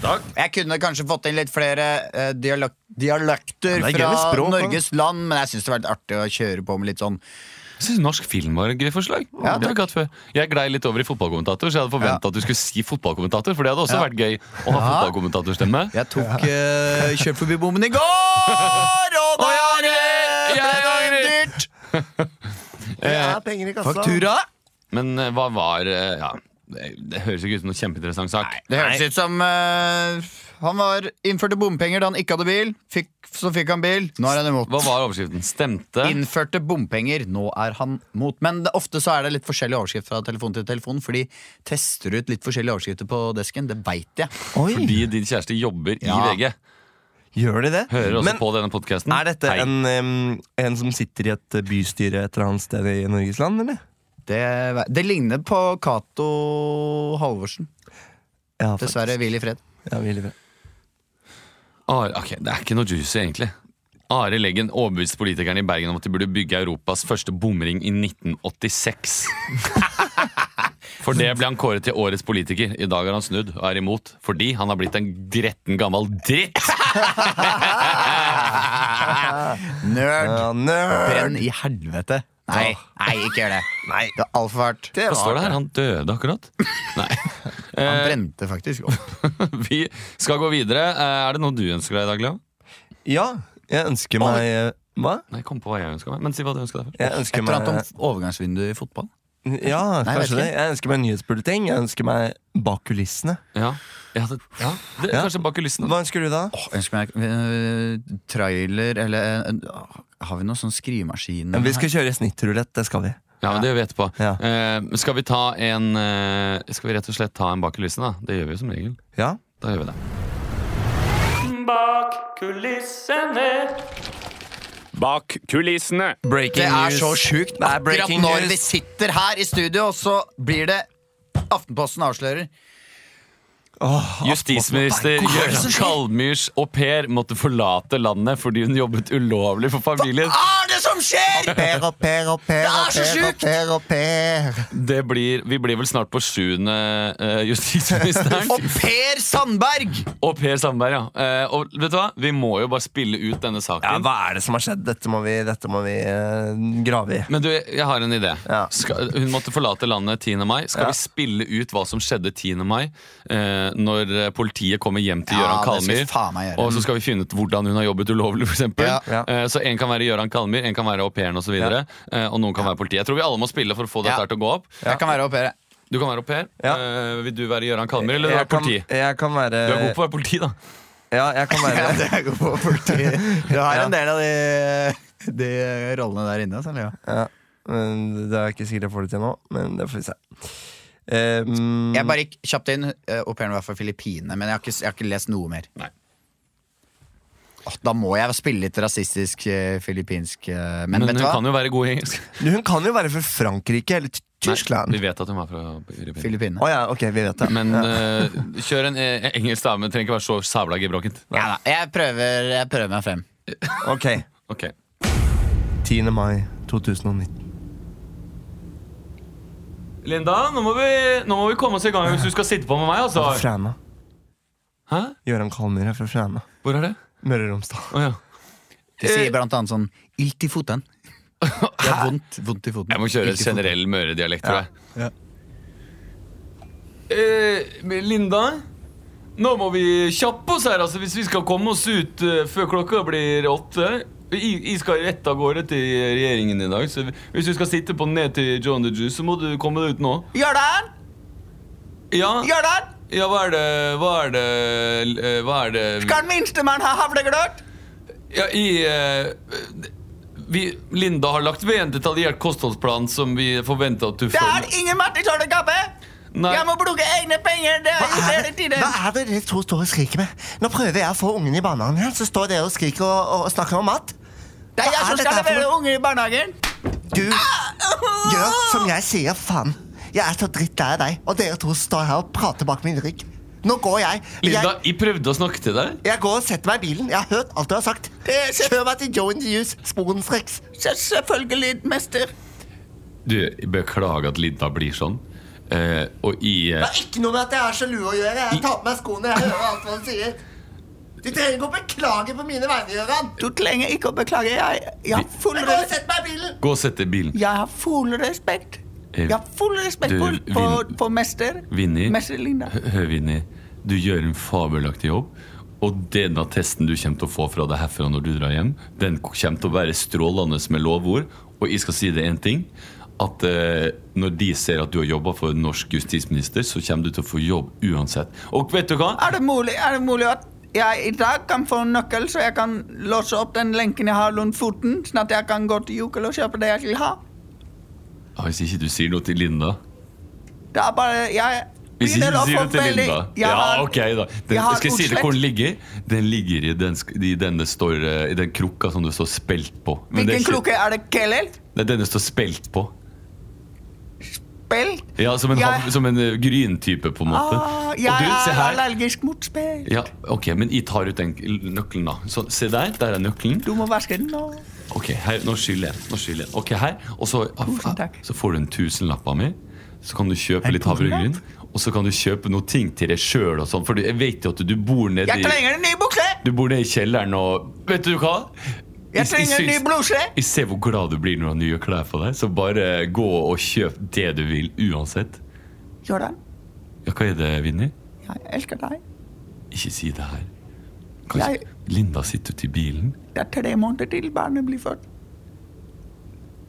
[SPEAKER 1] Takk.
[SPEAKER 2] Jeg kunne kanskje fått inn litt flere eh, dialek dialekter
[SPEAKER 3] det er gøy
[SPEAKER 2] fra
[SPEAKER 3] med språk, da.
[SPEAKER 2] Norges land, men jeg syns det var litt artig å kjøre på med litt sånn
[SPEAKER 1] Jeg synes norsk film var et gøy forslag. det var godt før. Jeg glei litt over i fotballkommentator, så jeg hadde forventa at du skulle si fotballkommentator, for det hadde også vært gøy å ha fotballkommentatorstemme.
[SPEAKER 2] Jeg tok uh, kjørt forbi bommen i går, og da er
[SPEAKER 1] Jeg
[SPEAKER 2] det
[SPEAKER 1] angrer!
[SPEAKER 2] dyrt!
[SPEAKER 3] Det
[SPEAKER 1] Øh,
[SPEAKER 3] er penger i kassa.
[SPEAKER 2] Faktura?
[SPEAKER 1] Men eh, hva var eh, Ja, det, det høres ikke ut som noe kjempeinteressant sak.
[SPEAKER 2] Det høres ut som eh, han var innførte bompenger da han ikke hadde bil. Fikk, så fikk han bil. Nå er han imot.
[SPEAKER 1] Hva var overskriften? Stemte?
[SPEAKER 2] Innførte bompenger, nå er han mot. Men det, ofte så er det litt forskjellig overskrift fra telefon til telefon, for de tester ut litt forskjellige overskrifter på desken. Det veit jeg.
[SPEAKER 1] Fordi din kjæreste jobber i
[SPEAKER 2] Ja.
[SPEAKER 1] VG.
[SPEAKER 3] Gjør de det?
[SPEAKER 1] Hører også
[SPEAKER 3] Men
[SPEAKER 1] på denne podkasten.
[SPEAKER 3] er dette en, em, en som sitter i et bystyre et eller annet sted i Norges land, eller?
[SPEAKER 2] Det, ve- det ligner på Cato Halvorsen.
[SPEAKER 3] Ja, faktisk.
[SPEAKER 2] Dessverre, hvil i fred.
[SPEAKER 3] Ja, vi lever.
[SPEAKER 1] Are, ok, Det er ikke noe juicy, egentlig. Are Leggen overbeviste politikerne i Bergen om at de burde bygge Europas første bomring i 1986. For det ble han kåret til årets politiker. I dag har han snudd og er imot fordi han har blitt en gretten gammel dritt!
[SPEAKER 2] Nerd!
[SPEAKER 3] Ja, nerd.
[SPEAKER 2] Brenn i helvete. Eh, Nei, nei, ikke gjør det. Det er altfor hardt.
[SPEAKER 1] Hva står det her? Han døde akkurat. Nei.
[SPEAKER 2] Han brente faktisk opp.
[SPEAKER 1] Vi skal gå videre. Eh, Er det noe du ønsker deg i dag, Leo?
[SPEAKER 3] Ja, jeg ønsker meg eh, Hva?
[SPEAKER 1] Nei, kom på hva jeg ønsker meg. Men si hva du ønsker deg først.
[SPEAKER 3] Jeg
[SPEAKER 2] Et
[SPEAKER 3] ønsker
[SPEAKER 2] eller
[SPEAKER 3] meg
[SPEAKER 2] annet om f- overgangsvindu i fotball.
[SPEAKER 3] Ja,
[SPEAKER 2] Nei, jeg vet
[SPEAKER 3] kanskje det.
[SPEAKER 2] ikke.
[SPEAKER 3] Jeg ønsker meg nyhetsbulleting. Jeg ønsker meg bak kulissene.
[SPEAKER 1] Ja. Ja, det, ja. Det,
[SPEAKER 3] Ja.
[SPEAKER 1] Kanskje bak kulissene.
[SPEAKER 3] Hva ønsker du da?
[SPEAKER 2] Åh, ønsker meg øh, trailer eller en- en- Har vi noen sånn skrivemaskin?
[SPEAKER 3] Vi skal kjøre snittrulett. Det skal vi.
[SPEAKER 1] Ja, men det gjør vi etterpå.
[SPEAKER 3] Ja.
[SPEAKER 1] Eh, skal vi ta en eh, Skal vi rett og slett ta en bak kulissene, da? Det gjør vi jo som regel.
[SPEAKER 3] Ja
[SPEAKER 1] Da gjør vi det.
[SPEAKER 6] Bak kulissene. Bak kulissene.
[SPEAKER 2] Det er så sjukt.
[SPEAKER 3] Det er
[SPEAKER 2] Akkurat
[SPEAKER 3] breaking
[SPEAKER 2] når
[SPEAKER 3] news.
[SPEAKER 2] vi sitter her i studio, og så blir det Aftenposten avslører.
[SPEAKER 1] Justisminister Jørgen Kalmyrs au pair måtte forlate landet fordi hun jobbet ulovlig for familien.
[SPEAKER 3] er det som skjer?! Per og per og per og per og per og per.
[SPEAKER 1] Det blir, vi blir vel snart på sjuende eh, justisministeren.
[SPEAKER 2] Og Per Sandberg!
[SPEAKER 1] Og Per Sandberg, ja. Eh, og vet du hva? Vi må jo bare spille ut denne saken.
[SPEAKER 3] Ja, hva er det som har skjedd? Dette må vi, dette må vi eh, grave i.
[SPEAKER 1] Men du, jeg har en idé.
[SPEAKER 3] Ja.
[SPEAKER 1] Skal, hun måtte forlate landet 10. mai. Skal vi spille ut hva som skjedde 10. mai, eh, når eh, politiet kommer hjem til
[SPEAKER 2] Ja,
[SPEAKER 1] Gøran
[SPEAKER 2] det skal vi faen meg
[SPEAKER 1] Kalmyr?
[SPEAKER 2] gjøre.
[SPEAKER 1] Og så skal vi finne ut hvordan hun har jobbet ulovlig, f.eks.
[SPEAKER 3] Ja, ja.
[SPEAKER 1] Eh, så en kan være Gøran Kalmyr, en kan være au pairen osv. videre Eh, og noen kan være politi. Jeg tror vi alle må spille for å få dette
[SPEAKER 2] Ja.
[SPEAKER 1] her til å gå opp.
[SPEAKER 2] Jeg kan være au pair. jeg.
[SPEAKER 1] Du kan være au pair.
[SPEAKER 3] Ja.
[SPEAKER 1] Eh, vil du være Gøran Kalmyr, eller være
[SPEAKER 3] Jeg kan,
[SPEAKER 1] politi?
[SPEAKER 3] jeg kan være
[SPEAKER 1] Du er god på å være politi, da.
[SPEAKER 3] Ja, jeg kan være
[SPEAKER 2] Ja, det er god på politi. Du har en del av de, de rollene der inne. Så, Leo.
[SPEAKER 3] ja. Men det er ikke sikkert jeg får det til nå, men det får vi se. Um,
[SPEAKER 2] Mm. Jeg bare gikk kjapt inn. eh, Au pairen var fra Filippinene, men jeg har ikke, jeg har ikke lest noe mer.
[SPEAKER 1] Nei.
[SPEAKER 2] Åh, Da må jeg spille litt rasistisk eh, filippinsk. eh, Men,
[SPEAKER 1] Men
[SPEAKER 2] vet
[SPEAKER 1] hun
[SPEAKER 2] du hva?
[SPEAKER 1] kan jo være god i engelsk.
[SPEAKER 3] hun kan jo være fra Frankrike eller Ty- Tyskland.
[SPEAKER 1] Nei, vi vet at hun er fra Filippinene.
[SPEAKER 2] Filippinene.
[SPEAKER 3] Å ja, ok, vi vet det.
[SPEAKER 1] Men
[SPEAKER 3] ja.
[SPEAKER 1] eh, kjør en eh, engelsk dame. Trenger ikke være så sabla gebrokkent.
[SPEAKER 2] Ja, da, jeg, prøver, jeg prøver meg frem.
[SPEAKER 3] Ok.
[SPEAKER 1] Ok.
[SPEAKER 3] 10. mai 2019.
[SPEAKER 1] Linda, nå må, vi, nå må vi komme oss i gang hvis du skal sitte på med meg.
[SPEAKER 3] Fra
[SPEAKER 1] altså
[SPEAKER 3] Fræna.
[SPEAKER 1] Hæ?
[SPEAKER 3] Gøran Kalmyr er fra Fræna.
[SPEAKER 1] Hvor er det?
[SPEAKER 3] Møre og Romsdal.
[SPEAKER 1] Å, ja.
[SPEAKER 2] De sier blant annet sånn Ilt i foten. Det er vondt, vondt i foten.
[SPEAKER 1] Jeg må kjøre
[SPEAKER 2] Ilt i foten.
[SPEAKER 1] generell møredialekt, tror jeg. Eh, men Linda, nå må vi kjappe oss her altså, hvis vi skal komme oss ut eh, før klokka blir åtte. Jeg jeg skal rett av gårde til regjeringen i dag, så hvis du skal sitte på ned til John the Juice, så må du komme deg ut nå.
[SPEAKER 2] Gjørdan!
[SPEAKER 1] Ja,
[SPEAKER 2] Gjørdan!
[SPEAKER 1] ja hva er det Hva er det, eh, hva er det
[SPEAKER 2] Skal minstemann ha havleglørt?
[SPEAKER 1] Ja, i eh, vi, Linda har lagt ved en detaljert kostholdsplan som vi forventer at du
[SPEAKER 2] Det er
[SPEAKER 1] følger.
[SPEAKER 2] ingen Martin Tårnekappe!
[SPEAKER 1] Nei.
[SPEAKER 2] Jeg må bruke egne penger! Det er
[SPEAKER 3] Hva
[SPEAKER 2] ikke
[SPEAKER 3] er
[SPEAKER 2] hele
[SPEAKER 3] det
[SPEAKER 2] tiden.
[SPEAKER 3] hva er det dere to står og skriker med? Nå prøver jeg å få ungene i barnehagen her, så står dere og skriker og, og snakker om mat.
[SPEAKER 2] Det er jeg
[SPEAKER 3] Hva er
[SPEAKER 2] som
[SPEAKER 3] dette
[SPEAKER 2] skal
[SPEAKER 3] her for
[SPEAKER 2] levere
[SPEAKER 3] noe?
[SPEAKER 2] unger i barnehagen.
[SPEAKER 3] Du gjør som jeg sier, faen. Jeg er så drittlei av deg, og dere to står her og prater bak min rygg. Nå går jeg.
[SPEAKER 1] Linda,
[SPEAKER 3] Jeg,
[SPEAKER 1] jeg prøvde å snakke til deg.
[SPEAKER 3] jeg går og setter meg i bilen. Jeg har hørt alt du har sagt. Kjør meg til Joe and the Juice sporenstreks.
[SPEAKER 2] Selvfølgelig, mester.
[SPEAKER 1] Du, jeg beklager at Linda blir sånn. Eh, og jeg
[SPEAKER 3] Det
[SPEAKER 1] eh,
[SPEAKER 3] har ikke noe med at jeg er sjalu å gjøre. Jeg tar på meg skoene. Jeg hører alt hva du sier. Du trenger ikke å beklage på mine vegne, Gøran.
[SPEAKER 2] Du trenger ikke å beklage. Jeg, jeg har full
[SPEAKER 3] Jeg går og
[SPEAKER 2] respekt.
[SPEAKER 3] setter meg i bilen.
[SPEAKER 1] Gå og sett deg i bilen.
[SPEAKER 2] Jeg har full respekt.
[SPEAKER 1] Eh,
[SPEAKER 2] Jeg har full respekt
[SPEAKER 1] du,
[SPEAKER 2] for, for,
[SPEAKER 1] Vin-
[SPEAKER 2] for mester.
[SPEAKER 1] Vinni.
[SPEAKER 2] Mester Linda.
[SPEAKER 1] Hø- Hør, Vinni. Du gjør en fabelaktig jobb. Og denne testen du kommer til å få fra deg herfra når du drar hjem, den kommer til å være strålende med lovord. Og jeg skal si det én ting. At eh, når de ser at du har jobba for en norsk justisminister, så kommer du til å få jobb uansett. Og vet du hva?
[SPEAKER 2] Er det, mulig, er det mulig at jeg i dag kan få en nøkkel, så jeg kan låse opp den lenken jeg har rundt foten, sånn at jeg kan gå til Jokel og kjøpe det jeg vil ha?
[SPEAKER 1] Ja, Hvis ikke du sier noe til Linda
[SPEAKER 2] Det er bare Jeg
[SPEAKER 1] Hvis ikke
[SPEAKER 2] begynner
[SPEAKER 1] du
[SPEAKER 2] å
[SPEAKER 1] sier
[SPEAKER 2] få
[SPEAKER 1] noe til
[SPEAKER 2] veldig-
[SPEAKER 1] Linda
[SPEAKER 2] jeg
[SPEAKER 1] Ja,
[SPEAKER 2] har-
[SPEAKER 1] ok, da. Den,
[SPEAKER 2] jeg har
[SPEAKER 1] skal jeg si deg
[SPEAKER 2] utslett.
[SPEAKER 1] hvor den ligger? Den ligger i den, sk- i den, det står, eh, i den krukka som det står spelt på. Men det er
[SPEAKER 2] Hvilken
[SPEAKER 1] ikke-
[SPEAKER 2] kloke er det? Kelel?
[SPEAKER 1] Det er den det står spelt på.
[SPEAKER 2] Spelt?
[SPEAKER 1] Ja, Som en,
[SPEAKER 2] Jeg-
[SPEAKER 1] hav- som en eh, gryntype, på en måte.
[SPEAKER 2] Ah,
[SPEAKER 1] Og
[SPEAKER 2] jeg
[SPEAKER 1] du, se
[SPEAKER 2] er
[SPEAKER 1] her.
[SPEAKER 2] allergisk mot spelt.
[SPEAKER 1] Ja, ok, Men jeg tar ut den nøkkelen, da. Så, se der. Der er nøkkelen.
[SPEAKER 2] Du må vaske den nå.
[SPEAKER 1] Ok, her, Nå skyller jeg. Nå skyller jeg. Ok, her. Og så, ah,
[SPEAKER 2] Tusen takk.
[SPEAKER 1] så får du en tusenlapp av meg. Så kan du kjøpe
[SPEAKER 2] En
[SPEAKER 1] litt havregryn. Og så kan du kjøpe noen ting til deg sjøl og sånn, for du- jeg vet jo at du bor nede
[SPEAKER 2] Jeg
[SPEAKER 1] i
[SPEAKER 2] trenger en ny bukse!
[SPEAKER 1] Du bor nede i kjelleren og Vet du hva?
[SPEAKER 2] Jeg trenger en ny
[SPEAKER 1] syns-
[SPEAKER 2] bluse!
[SPEAKER 1] Jeg ser hvor glad du blir når du har nye klær på deg, så bare gå og kjøp det du vil uansett.
[SPEAKER 2] Jordan,
[SPEAKER 1] Ja, hva er det, Vinni?
[SPEAKER 2] jeg elsker deg.
[SPEAKER 1] Ikke si det her. Kan-
[SPEAKER 2] Jeg,
[SPEAKER 1] Linda sitter ute i bilen.
[SPEAKER 2] det er tre måneder til barnet blir født.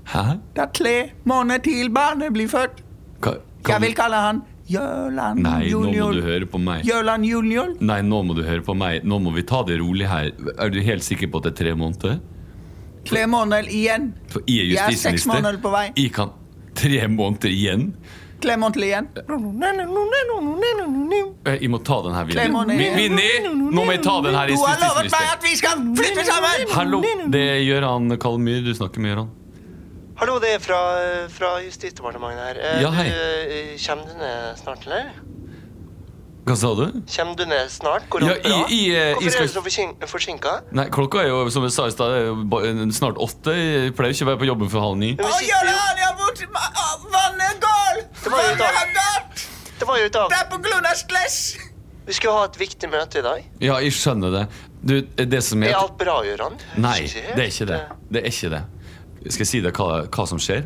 [SPEAKER 1] Hæ?
[SPEAKER 2] Det er tre måneder til barnet blir født.
[SPEAKER 1] Hva,
[SPEAKER 2] Jeg
[SPEAKER 1] kan
[SPEAKER 2] vil kalle han Jørland
[SPEAKER 1] Nei, nå må
[SPEAKER 2] junior.
[SPEAKER 1] du høre på meg.
[SPEAKER 2] Jørland junior.
[SPEAKER 1] Nei, nå må du høre på meg. Nå må vi ta det rolig her. Er du helt sikker på at det er tre måneder?
[SPEAKER 2] Tre måneder igjen.
[SPEAKER 1] For jeg er
[SPEAKER 2] Jeg er
[SPEAKER 1] justisminister.
[SPEAKER 2] seks måneder på vei.
[SPEAKER 1] Jeg kan Tre måneder igjen?
[SPEAKER 2] Tre måneder igjen.
[SPEAKER 1] Eh, Jeg må ta den her,
[SPEAKER 2] Tre
[SPEAKER 1] Vinni.
[SPEAKER 2] måneder igjen.
[SPEAKER 1] Vi- Vinni! Nå må jeg ta den her,
[SPEAKER 2] Du har lovet
[SPEAKER 1] justisminister.
[SPEAKER 2] meg at vi skal flytte sammen!
[SPEAKER 1] Hallo, det er Gøran Kalmyr. Du snakker med Gøran.
[SPEAKER 7] Hallo, det er fra, fra Justisdepartementet her. Eh,
[SPEAKER 1] Ja, hei.
[SPEAKER 7] Du, eh, kommer du ned snart, eller?
[SPEAKER 1] Hva sa du?
[SPEAKER 7] Kommer du ned snart? Går
[SPEAKER 1] Ja,
[SPEAKER 7] alt
[SPEAKER 1] i-
[SPEAKER 7] bra?
[SPEAKER 1] i, eh, i
[SPEAKER 7] Hvorfor
[SPEAKER 1] skal-
[SPEAKER 7] er du så forsin- forsinka?
[SPEAKER 1] Nei, klokka er jo som jeg sa i stad, er jo ba- eh, snart åtte. Jeg pleier ikke å være på jobben før halv ni.
[SPEAKER 7] Men vi sitter jo-
[SPEAKER 8] jeg borti Vannegård!
[SPEAKER 7] Det var jo i dag.
[SPEAKER 8] Vannegård!
[SPEAKER 7] Det var jo i dag.
[SPEAKER 8] er på Glonars clash!
[SPEAKER 7] Vi skulle ha et viktig møte i dag.
[SPEAKER 1] Ja, jeg skjønner det. Du, det som
[SPEAKER 7] Er
[SPEAKER 1] er
[SPEAKER 7] alt bra, Gøran?
[SPEAKER 1] Nei, det er ikke
[SPEAKER 7] Eh,
[SPEAKER 1] det. Det er ikke det. Skal jeg si deg hva, hva som skjer?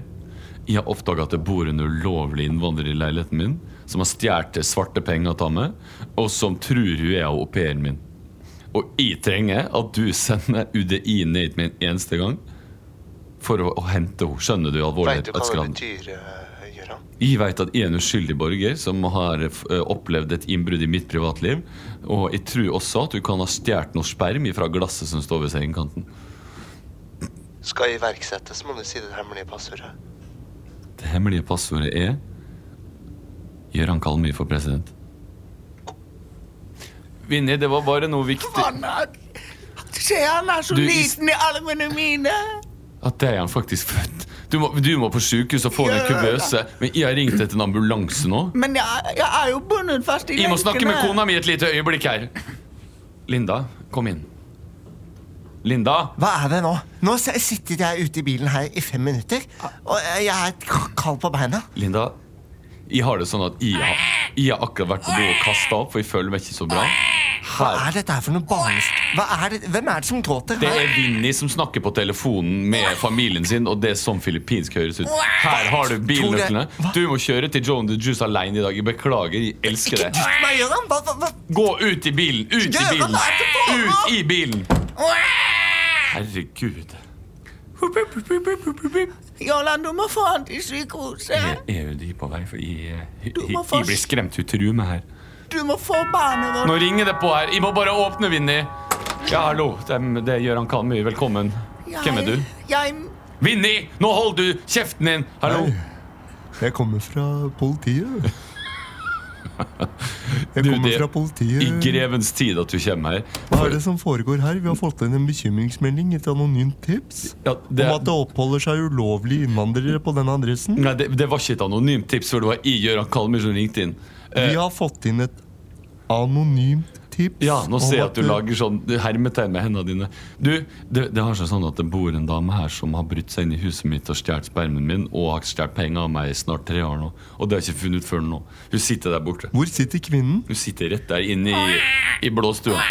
[SPEAKER 1] Jeg har oppdaga at det bor en ulovlig innvandrer i leiligheten min, som har stjålet svarte penger av meg, og som tror hun er au pairen min. Og jeg trenger at du sender UDI ned hit med en eneste gang for å, å hente henne. Skjønner du alvorlig?
[SPEAKER 7] Veit du hva
[SPEAKER 1] at skran-
[SPEAKER 7] det betyr, eh, Gøran?
[SPEAKER 1] jeg vet at jeg er en uskyldig borger som har eh, f- eh, opplevd et innbrudd i mitt privatliv. Og jeg tror også at du kan ha stjålet noe sperm fra glasset som står ved sengekanten.
[SPEAKER 7] Skal iverksettes, må du si det hemmelige passordet.
[SPEAKER 1] Det hemmelige passordet er Gjøran Kalmyr for president. Vinni, det var bare noe viktig
[SPEAKER 8] Vannegård! Se, han er så
[SPEAKER 1] Du, i-
[SPEAKER 8] liten i armene mine!
[SPEAKER 1] At det er han faktisk født. Du må, du må på sjukehus og få en kubøse. Men jeg har ringt etter en ambulanse nå.
[SPEAKER 8] Men jeg, jeg er jo bundet fast i
[SPEAKER 1] Jeg må snakke med kona mi et lite øyeblikk her. Linda, kom inn. Linda!
[SPEAKER 3] Hva er det nå? Nå s- sitter jeg ute i bilen her i fem minutter, og jeg er k- kald på beina.
[SPEAKER 1] Linda, jeg har det sånn at jeg har, jeg har akkurat vært på do og kasta opp, for jeg føler meg ikke så bra.
[SPEAKER 3] Hva er dette her for noe barnest... Hva er det? Hvem er det som gråter?
[SPEAKER 1] Det
[SPEAKER 3] her?
[SPEAKER 1] er Vinni som snakker på telefonen med familien sin, og det er sånn filippinsk høres ut. Her har du bilnøklene. Du må kjøre til Joan the Juice alene i dag. Jeg beklager, jeg elsker
[SPEAKER 3] Dytt
[SPEAKER 1] det.
[SPEAKER 3] meg, Gøran! Hva, hva, hva?
[SPEAKER 1] Gå ut i bilen! Ut i bilen! Ut i bilen! Herregud.
[SPEAKER 8] Jolan, du må få han til sykehuset.
[SPEAKER 1] Jeg er jo de på vei, for jeg, jeg,
[SPEAKER 8] Du
[SPEAKER 1] jeg,
[SPEAKER 8] må få-
[SPEAKER 1] jeg blir skremt. Hun truer meg her.
[SPEAKER 8] Du må få barnet vårt.
[SPEAKER 1] Nå ringer det på her. Jeg må bare åpne, Vinni. Ja, hallo. Det er, det er Gøran Kalmøy. Velkommen. Hvem er du?
[SPEAKER 8] Jeg,
[SPEAKER 1] Vinni, nå holder du kjeften din! Hallo.
[SPEAKER 9] Jeg kommer fra politiet. Jeg
[SPEAKER 1] Du,
[SPEAKER 9] kommer
[SPEAKER 1] det-
[SPEAKER 9] fra politiet.
[SPEAKER 1] I grevens tid at du kommer her.
[SPEAKER 9] Hva er det som foregår her? Vi har fått inn en bekymringsmelding, et anonymt tips,
[SPEAKER 1] Ja, det,
[SPEAKER 9] om at det oppholder seg ulovlige innvandrere på denne adressen.
[SPEAKER 1] nei, det, det var ikke et anonymt tips, for det var i Gøran Kalmyr som ringte inn. Eh,
[SPEAKER 9] Vi har fått inn et anonymt tips.
[SPEAKER 1] ja,
[SPEAKER 9] om
[SPEAKER 1] nå ser jeg at du
[SPEAKER 9] det-
[SPEAKER 1] lager sånn du hermetegn med hendene dine. Du, det, det har seg sånn at det bor en dame her som har brutt seg inn i huset mitt og stjålet spermen min og har stjålet penger av meg i snart tre år nå. Og det har jeg ikke funnet ut før nå. Hun sitter der borte.
[SPEAKER 9] Hvor sitter kvinnen?
[SPEAKER 1] Hun sitter rett der inne i, i blåstua.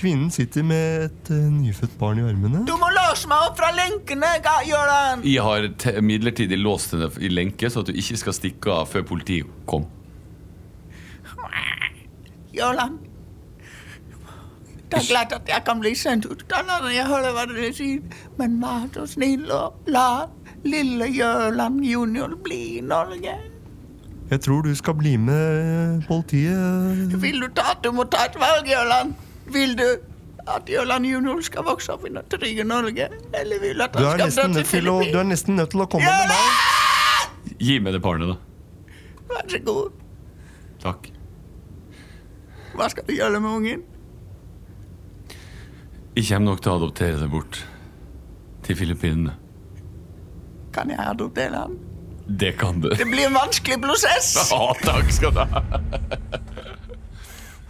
[SPEAKER 9] Kvinnen sitter med et eh, nyfødt barn i armene.
[SPEAKER 8] du må låse meg opp fra lenkene, Ga- Jolan.
[SPEAKER 1] Jeg har te- midlertidig låst henne i lenke, så at du ikke skal stikke av før politiet kom.
[SPEAKER 8] Jolan. Det er klart at jeg kan bli sendt ut av landet, jeg hører hva dere sier. Men vær så snill og la lille Jørland junior bli i Norge.
[SPEAKER 9] Jeg tror du skal bli med eh, politiet.
[SPEAKER 8] Vil du ta at du må ta et valg, Jørland? Vil du at Jørland junior skal vokse opp i det trygge Norge? Eller vil du at
[SPEAKER 9] Du er,
[SPEAKER 8] han skal
[SPEAKER 9] nesten
[SPEAKER 8] dra
[SPEAKER 9] nødt
[SPEAKER 8] til
[SPEAKER 9] til å, du er
[SPEAKER 8] Filippinene?
[SPEAKER 9] nesten nødt til å komme med meg.
[SPEAKER 8] Jørland!
[SPEAKER 1] Gi meg det barnet, da.
[SPEAKER 8] Vær så god.
[SPEAKER 1] Takk.
[SPEAKER 8] Hva skal du gjøre med ungen?
[SPEAKER 1] Jeg kommer nok til å adoptere det bort. Til Filippinene.
[SPEAKER 8] Kan jeg adoptere han?
[SPEAKER 1] Det kan du.
[SPEAKER 8] Det blir en vanskelig prosess.
[SPEAKER 1] Ja, takk skal du ha.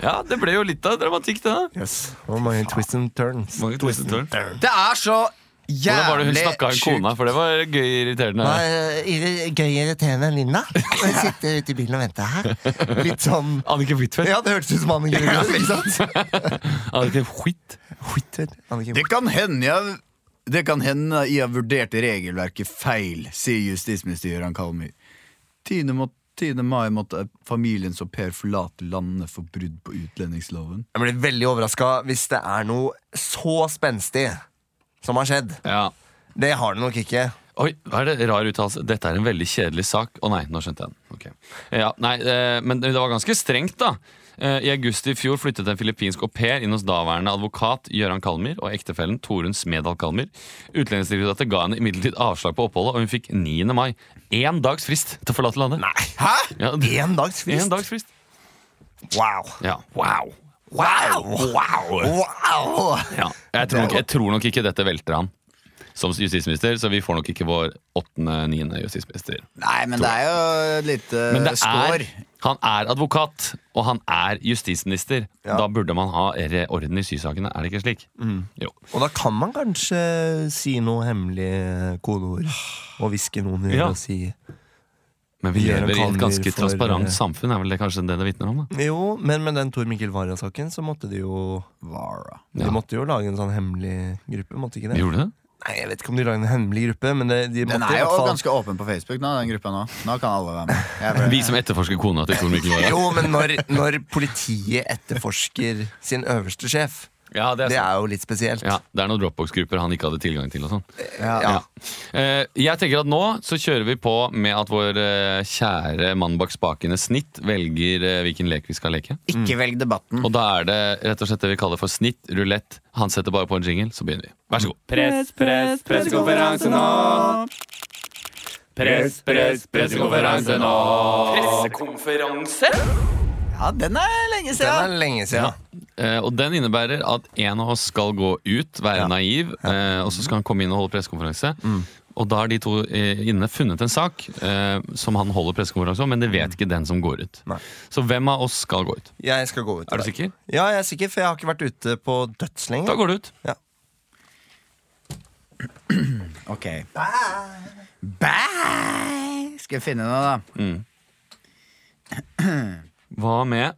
[SPEAKER 1] Ja, det ble jo litt av dramatikk, det. da.
[SPEAKER 3] Yes. Og mange twists and turns.
[SPEAKER 1] Mange twist and turn. Hvordan
[SPEAKER 2] Det er så jævlig
[SPEAKER 1] var det hun snakka om kona? For det var gøy irriterende.
[SPEAKER 3] Hva er irri- gøy irriterende Linda? Å sitte ute i bilen og vente her. Litt sånn
[SPEAKER 1] Annike Huitfeldt.
[SPEAKER 3] Ja, det hørtes ut som Anniken Rød, ikke sant?
[SPEAKER 1] Annike Huit.
[SPEAKER 3] Huitfeldt, Anniken
[SPEAKER 2] Det kan hende jeg det kan hende jeg har vurdert regelverket feil, sier justisminister Gøran Kalmyr. Tine, må, Tine Mai måtte familiens au pair forlate landet for brudd på utlendingsloven.
[SPEAKER 3] Jeg blir veldig overraska hvis det er noe så spenstig som har skjedd.
[SPEAKER 1] Ja.
[SPEAKER 3] Det har det nok ikke.
[SPEAKER 1] Oi, hva er det rar uttalelse? Dette er en veldig kjedelig sak. Å nei, nå skjønte jeg den. Ok. Ja, nei, eh, men det var ganske strengt, da. Eh, I august i fjor flyttet en filippinsk au pair inn hos daværende advokat Gøran Kalmyr og ektefellen Torunn Smedal Kalmyr. Utlendingsdirektoratet ga henne imidlertid avslag på oppholdet, og hun fikk 9. mai én dags frist til å forlate landet. Nei,
[SPEAKER 3] Hæ?
[SPEAKER 1] ja, det-
[SPEAKER 3] Én dags frist?
[SPEAKER 1] En dags frist.
[SPEAKER 3] Wow.
[SPEAKER 1] Ja.
[SPEAKER 3] Wow! Wow!
[SPEAKER 1] Ja. Jeg, tror nok, jeg tror nok ikke dette velter han. som justisminister, så vi får nok ikke vår åttende-niende justisminister.
[SPEAKER 2] Nei, men det er jo et lite
[SPEAKER 1] Men det er,
[SPEAKER 2] skår.
[SPEAKER 1] han er advokat, og han er justisminister. Da burde man ha re- orden i sysakene, er det ikke slik? Jo.
[SPEAKER 3] Og da kan man kanskje si noe hemmelig kodeord. Og hviske noen i
[SPEAKER 1] Ja.
[SPEAKER 3] øret og si
[SPEAKER 1] Men vi
[SPEAKER 3] Vi er en
[SPEAKER 1] lever i et
[SPEAKER 3] kalver
[SPEAKER 1] ganske
[SPEAKER 3] for-
[SPEAKER 1] transparent samfunn, er vel det kanskje det det vitner om? da?
[SPEAKER 3] Jo, men med den Tor Mikkel Wara-saken så måtte de jo
[SPEAKER 2] Vara.
[SPEAKER 3] De måtte jo lage en sånn hemmelig gruppe, måtte ikke det?
[SPEAKER 1] Gjorde det?
[SPEAKER 3] Nei, Jeg vet ikke om de lagde en hemmelig gruppe, men det, de
[SPEAKER 2] Den
[SPEAKER 3] måtte
[SPEAKER 2] er
[SPEAKER 3] i
[SPEAKER 2] jo
[SPEAKER 3] hvert fall
[SPEAKER 2] ganske åpen på Facebook nå, den gruppa nå. Nå kan alle være med. Jeg ble-
[SPEAKER 1] Vi som etterforsker kona til Tor Mikkel Wara.
[SPEAKER 3] Jo, men når, når politiet etterforsker sin øverste sjef,
[SPEAKER 1] Ja, det
[SPEAKER 3] det
[SPEAKER 1] er sant.
[SPEAKER 3] er jo litt spesielt.
[SPEAKER 1] Ja, det er noen Dropbox-grupper han ikke hadde tilgang til. og sånn
[SPEAKER 3] Ja.
[SPEAKER 1] Eh, Jeg tenker at nå så kjører vi på med at vår eh, kjære mann bak spakene Snitt velger eh, hvilken lek vi skal leke.
[SPEAKER 2] Ikke velg debatten.
[SPEAKER 1] Og da er det rett og slett det vi kaller for snitt, rulett. Han setter bare på en jingle, så begynner vi. Vær så god.
[SPEAKER 6] Press, press, pressekonferanse nå! Press, press, pressekonferanse nå!
[SPEAKER 2] Ja, den er lenge
[SPEAKER 3] Den
[SPEAKER 2] siden.
[SPEAKER 3] er lenge siden.
[SPEAKER 1] Eh, og den innebærer at en av oss skal gå ut, være naiv, eh, og så skal han komme inn og holde pressekonferanse.
[SPEAKER 3] Mm.
[SPEAKER 1] Og da har de to eh, inne funnet en sak eh, som han holder pressekonferanse om, men det vet ikke den som går ut.
[SPEAKER 3] Mm. Nei.
[SPEAKER 1] Så hvem av oss skal gå ut?
[SPEAKER 3] Jeg skal gå ut.
[SPEAKER 1] Er du sikker?
[SPEAKER 3] Ja, jeg er sikker, for jeg har ikke vært ute på dødslenge.
[SPEAKER 1] Da går du ut.
[SPEAKER 2] Ok. Bæ! Skal jeg finne noe, da?
[SPEAKER 1] Hva med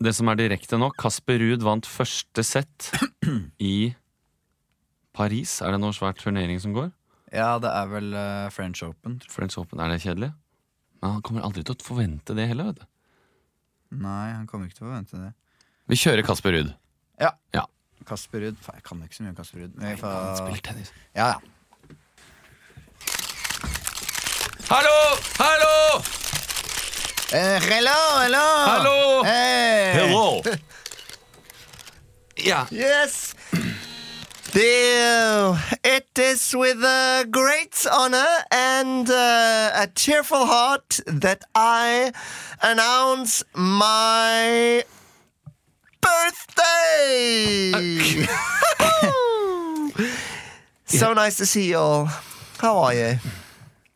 [SPEAKER 1] det som er direkte nå? Kasper Ruud vant første sett i Paris. Er det noe svær turnering som går?
[SPEAKER 2] Ja, det er vel eh, French Open. tror jeg.
[SPEAKER 1] French Open, er det kjedelig? Men han kommer aldri til å forvente det heller, vet du.
[SPEAKER 2] Nei, han kommer ikke til å forvente det.
[SPEAKER 1] Vi kjører Kasper Ruud.
[SPEAKER 2] Kasper Ruud. Faen, Jeg kan ikke så mye om Kasper Ruud. men jeg
[SPEAKER 1] Han
[SPEAKER 2] får-
[SPEAKER 1] spiller tennis.
[SPEAKER 2] Ja, ja.
[SPEAKER 1] Hallo! Hallo!
[SPEAKER 2] Eh, hello, hello!
[SPEAKER 1] Hallo!
[SPEAKER 2] Hey!
[SPEAKER 1] Ja.
[SPEAKER 3] Yes! The, it is with a great honor and uh, a cheerful heart that I announce my birthday! so nice to see you all. How are you?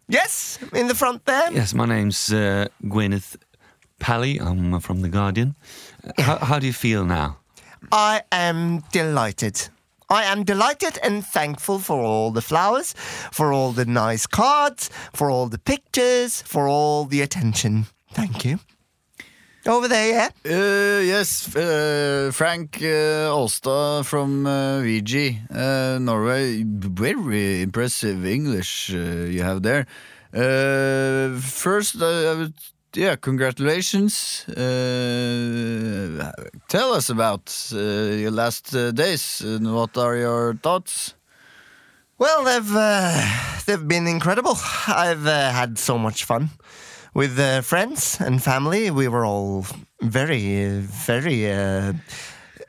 [SPEAKER 3] Yes, in the front there.
[SPEAKER 1] Yes, my name's uh, Gwyneth Pally. I'm uh, from The Guardian. Uh, How, how do you feel now?
[SPEAKER 3] I am delighted. I am delighted and thankful for all the flowers, for all the nice cards, for all the pictures, for all the attention. Thank you. Over there, yeah?
[SPEAKER 2] Uh, yes, uh, Frank uh, Alstad from uh, VG, uh, Norway. Very impressive English uh, you have there. Uh, first, uh, I would, yeah, congratulations. Uh, tell us about uh, your last uh, days and what are your thoughts?
[SPEAKER 3] Well, they've uh, they've been incredible. I've uh, had so much fun with uh, friends and family. We were all very, uh, very uh,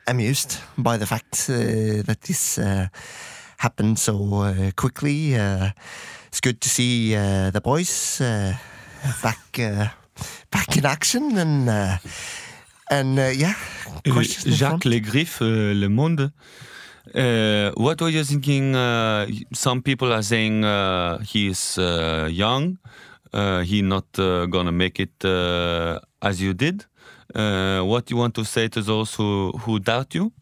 [SPEAKER 3] amused by the fact uh, that this uh, happened so uh, quickly. Uh, it's good to see uh, the boys uh, back uh, back in action and uh, and uh, yeah. questions in front.
[SPEAKER 4] Le Griff, Le Monde.
[SPEAKER 1] Uh, what were you thinking? Uh, some people are saying uh, he's uh, young, uh, he not uh, gonna make it uh, as you did. Uh, what you want to say to those who, who doubt you?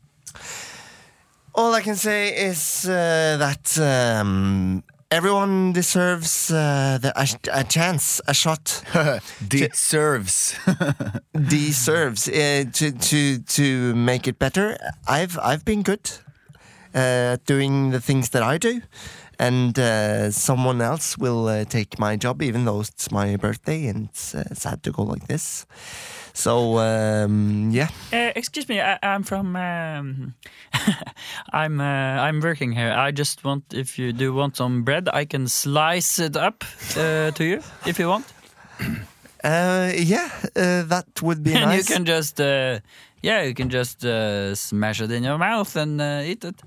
[SPEAKER 3] All I can say is uh, that um, everyone deserves uh, the, a, a chance, a shot.
[SPEAKER 2] Deserves.
[SPEAKER 3] deserves uh, to to to make it better. I've I've been good uh, at doing the things that I do, and uh, someone else will uh, take my job, even though it's my birthday and it's uh, sad to go like this. So um, yeah,
[SPEAKER 10] Uh, excuse me, I, I'm from. Um, I'm uh, I'm working here. I just want if you do want some bread, I can slice it up uh, to you if you want,
[SPEAKER 3] uh, yeah, uh, that would be
[SPEAKER 10] and you
[SPEAKER 3] nice.
[SPEAKER 10] can just uh, yeah, you can just uh, smash it in your mouth and uh, eat it.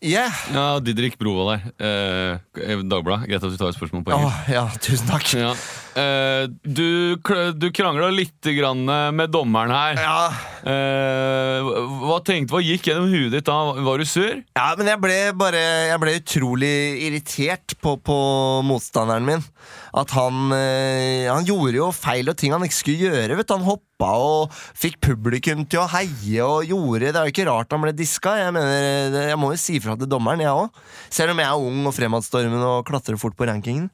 [SPEAKER 3] yeah.
[SPEAKER 1] Ja, Didrik Brovold her. Eh, Uh, Dagbladet. Greit at du tar et spørsmål på
[SPEAKER 3] Åh,
[SPEAKER 1] engelsk.
[SPEAKER 3] ja, tusen takk.
[SPEAKER 1] Ja.
[SPEAKER 11] Eh, du, kl- du krangla litt grann eh, med dommeren her.
[SPEAKER 3] Ah.
[SPEAKER 11] Eh, hva- hva, tenkte, hva gikk gjennom huet ditt da? Var du sur?
[SPEAKER 3] Ja, men jeg ble bare Jeg ble utrolig irritert på, på motstanderen min. At han eh, Han gjorde jo feil og ting han ikke skulle gjøre. Vet du. Han hoppa og fikk publikum til å heie og gjorde Det er jo ikke rart han ble diska. Jeg mener, det- jeg må jo si ifra til dommeren, jeg òg. Selv om jeg er ung og fremadstormende og klatrer fort på rankingen.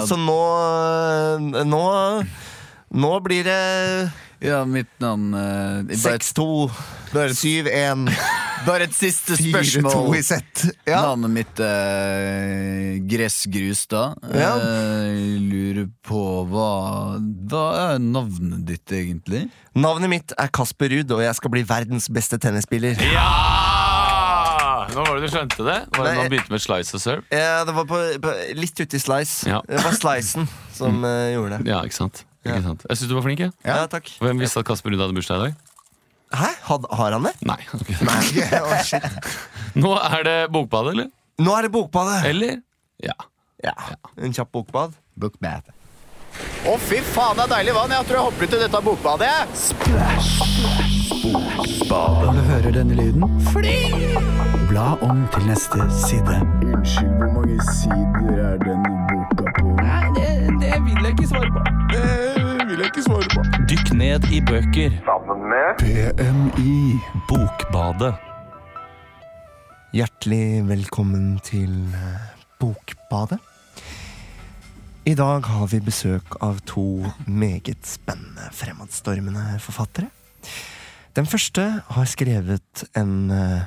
[SPEAKER 2] Ja.
[SPEAKER 3] Så nå eh, Nå Nå blir det
[SPEAKER 2] Ja, mitt navn eh, bare-
[SPEAKER 3] 6-2, 7-1
[SPEAKER 2] Bare et siste spørsmål.
[SPEAKER 3] 4-2 i sett. Ja.
[SPEAKER 2] Navnet mitt er eh, Gressgrus, da.
[SPEAKER 3] Ja.
[SPEAKER 2] Jeg Eh, lurer på hva Hva er navnet ditt, egentlig?
[SPEAKER 3] Navnet mitt er Kasper Ruud, og jeg skal bli verdens beste tennisspiller.
[SPEAKER 11] Ja! Nå var det du skjønte det. Var det
[SPEAKER 3] Nei.
[SPEAKER 11] når han begynte med slice og serve?
[SPEAKER 3] Eh, det var på, på, litt ute i slice.
[SPEAKER 11] Ja. Mm.
[SPEAKER 3] Det var slicen som eh, gjorde det.
[SPEAKER 11] Ja, ikke sant? Ikke sant? Jeg syns du var flink. jeg.
[SPEAKER 3] Ja, takk.
[SPEAKER 11] Hvem visste at Kasper Ruud hadde bursdag i dag?
[SPEAKER 3] Hæ? Had, har han det?
[SPEAKER 11] Nei. ok.
[SPEAKER 3] Å, shit.
[SPEAKER 11] Nå er det bokbad, eller?
[SPEAKER 3] Nå er det bokbadet!
[SPEAKER 11] Eller? Ja.
[SPEAKER 3] Ja, En kjapp bokbad.
[SPEAKER 2] Bookmat. Å, fy faen, det er deilig vann! Jeg tror jeg hopper ut i dette bokbadet.
[SPEAKER 7] Alle hører denne lyden? Bla om til neste side. Unnskyld, hvor mange sider er denne boka på? Nei, det, vil jeg ikke svare på. Det vil jeg ikke svare på.
[SPEAKER 12] Dykk ned i bøker.
[SPEAKER 7] Sammen med BMI.
[SPEAKER 12] Bokbadet.
[SPEAKER 3] Hjertelig velkommen til eh, Bokbadet. I dag har vi besøk av to meget spennende fremadstormende forfattere. Den første har skrevet en eh,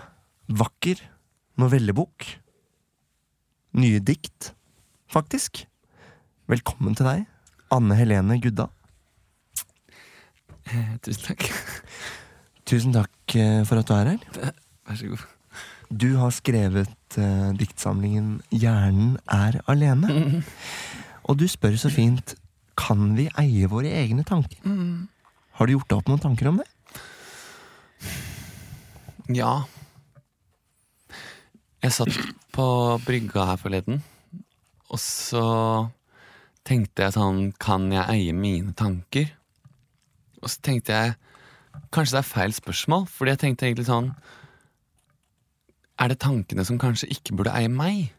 [SPEAKER 3] vakker novellebok. Nye dikt, faktisk. Velkommen til deg, Anne Helene Gudda.
[SPEAKER 11] Eh,
[SPEAKER 1] Tusen takk.
[SPEAKER 3] Tusen takk eh, for at du er her.
[SPEAKER 1] Vær så god.
[SPEAKER 3] Du har skrevet eh, diktsamlingen 'Hjernen er alene'. Og du spør så fint 'Kan vi eie våre egne tanker'?
[SPEAKER 1] Mm.
[SPEAKER 3] Har du gjort deg opp noen tanker om det?
[SPEAKER 1] Ja. Jeg satt på brygga her forleden, og så tenkte jeg sånn Kan jeg eie mine tanker? Og så tenkte jeg Kanskje det er feil spørsmål, fordi jeg tenkte egentlig sånn Er det tankene som kanskje ikke burde eie meg?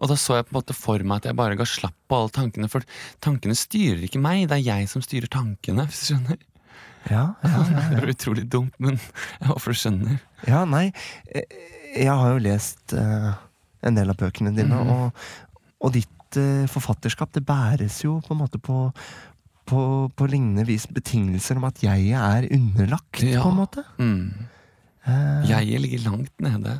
[SPEAKER 1] Og da så jeg på en måte for meg at jeg bare ga slapp på alle tankene, for tankene styrer ikke meg, det er jeg som styrer tankene, hvis du skjønner.
[SPEAKER 3] Ja,
[SPEAKER 1] Det er utrolig dumt, men jeg håper du skjønner.
[SPEAKER 3] Ja, nei eh, Jeg har jo lest eh, en del av bøkene dine,
[SPEAKER 1] Mhm.
[SPEAKER 3] og, og ditt eh, forfatterskap det bæres jo på en måte på på, på lignende vis betingelser om at jeg er underlagt,
[SPEAKER 1] Ja.
[SPEAKER 3] på en måte.
[SPEAKER 1] Mm.
[SPEAKER 3] Eh,
[SPEAKER 1] Jeg ligger langt nede.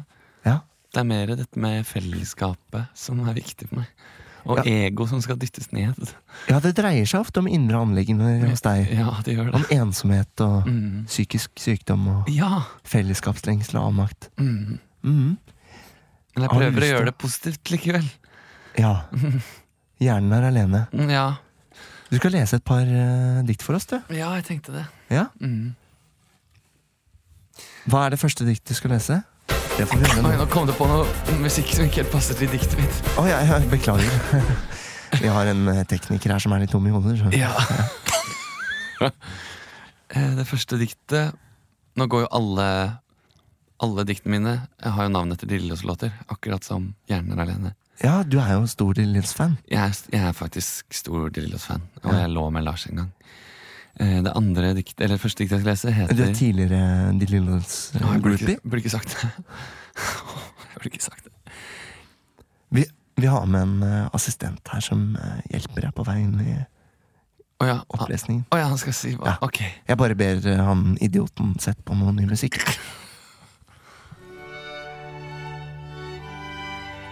[SPEAKER 3] Ja.
[SPEAKER 1] Det er mer dette med fellesskapet som er viktig for meg. Og ego som skal dyttes ned.
[SPEAKER 3] Ja, det dreier seg ofte om indre anliggender hos deg.
[SPEAKER 1] Ja, det gjør det.
[SPEAKER 3] Om ensomhet og
[SPEAKER 1] Mm.
[SPEAKER 3] psykisk sykdom og
[SPEAKER 1] Ja.
[SPEAKER 3] fellesskapslengsel og avmakt.
[SPEAKER 1] Mm.
[SPEAKER 3] Mhm.
[SPEAKER 1] Men jeg
[SPEAKER 3] Har
[SPEAKER 1] prøver
[SPEAKER 3] du
[SPEAKER 1] å
[SPEAKER 3] lyst til-
[SPEAKER 1] gjøre det positivt likevel. Mm,
[SPEAKER 3] Ja. Hjernen er alene.
[SPEAKER 1] Ja,
[SPEAKER 3] Du skal lese et par eh, dikt for oss, du.
[SPEAKER 1] ja jeg tenkte det.
[SPEAKER 3] Ja?
[SPEAKER 1] Mm.
[SPEAKER 3] Hva er det første diktet du skal lese? Det får vi høre
[SPEAKER 1] Oi,
[SPEAKER 3] nå.
[SPEAKER 1] nå kom det på noe musikk som ikke helt passer til diktet mitt.
[SPEAKER 3] Å, ja, ja, beklager. vi har en eh, tekniker her som er litt tom i hodet. så-
[SPEAKER 1] Ja. Eh, Det første diktet Nå går jo alle Alle diktene mine Jeg har jo navn etter Lillelås-låter, akkurat som Hjernen er alene.
[SPEAKER 3] Ja, du er jo en stor Lillelås-fan.
[SPEAKER 1] Jeg er, jeg er faktisk stor Lillelås-fan, og jeg lå med Lars en gang. Eh, Det andre dikt, eller første diktet jeg skal lese, heter
[SPEAKER 3] Du er tidligere De eh,
[SPEAKER 1] Nå, jeg burde ikke-
[SPEAKER 3] Lillelås-groupie.
[SPEAKER 1] Burde ikke sagt det. Jeg burde ikke sagt det.
[SPEAKER 3] Vi, vi har med en eh, assistent her som eh, hjelper deg på vei inn i
[SPEAKER 1] Å ja.
[SPEAKER 3] opplesningen.
[SPEAKER 1] Å ja, han skal si hva? Ok.
[SPEAKER 3] Jeg bare ber eh, han idioten sette på noe ny musikk.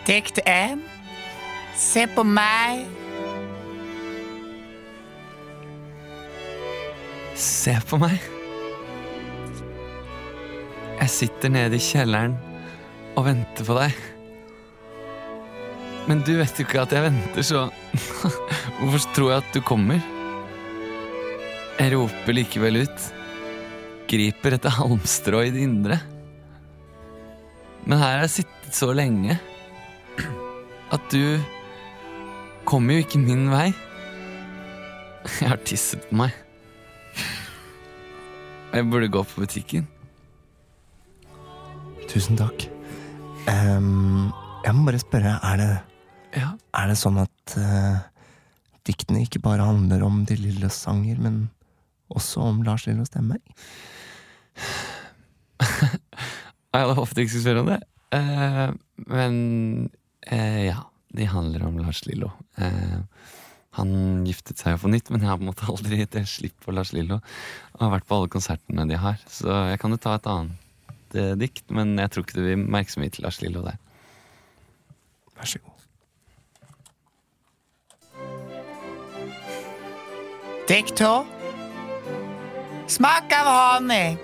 [SPEAKER 8] Dikt én. Se på meg.
[SPEAKER 1] Se på meg. Jeg sitter nede i kjelleren og venter på deg. Men du vet jo ikke at jeg venter, så hvorfor tror jeg at du kommer? Jeg roper likevel ut, griper etter halmstrå i det indre. Men her har jeg sittet så lenge at du kommer jo ikke min vei. Jeg har tisset på meg. Jeg burde gå på butikken.
[SPEAKER 3] Tusen takk. Ehm, jeg må bare spørre, er det, er det sånn at eh, diktene ikke bare handler om de lille sanger, men også om Lars Lillo Stemmer?
[SPEAKER 1] Jeg hadde håpet jeg ikke skulle spørre om det. Eh, men eh, ja, de handler om Lars Lillo. Eh, han giftet seg jo på nytt, men jeg har på en måte aldri gitt et slipp på Lars Lillo. Og har vært på alle konsertene de har. Så jeg kan jo ta et annet eh, dikt, men jeg tror ikke det vil merke så mye til Lars Lillo der.
[SPEAKER 3] Vær så god.
[SPEAKER 8] Dikta. Smak av honning.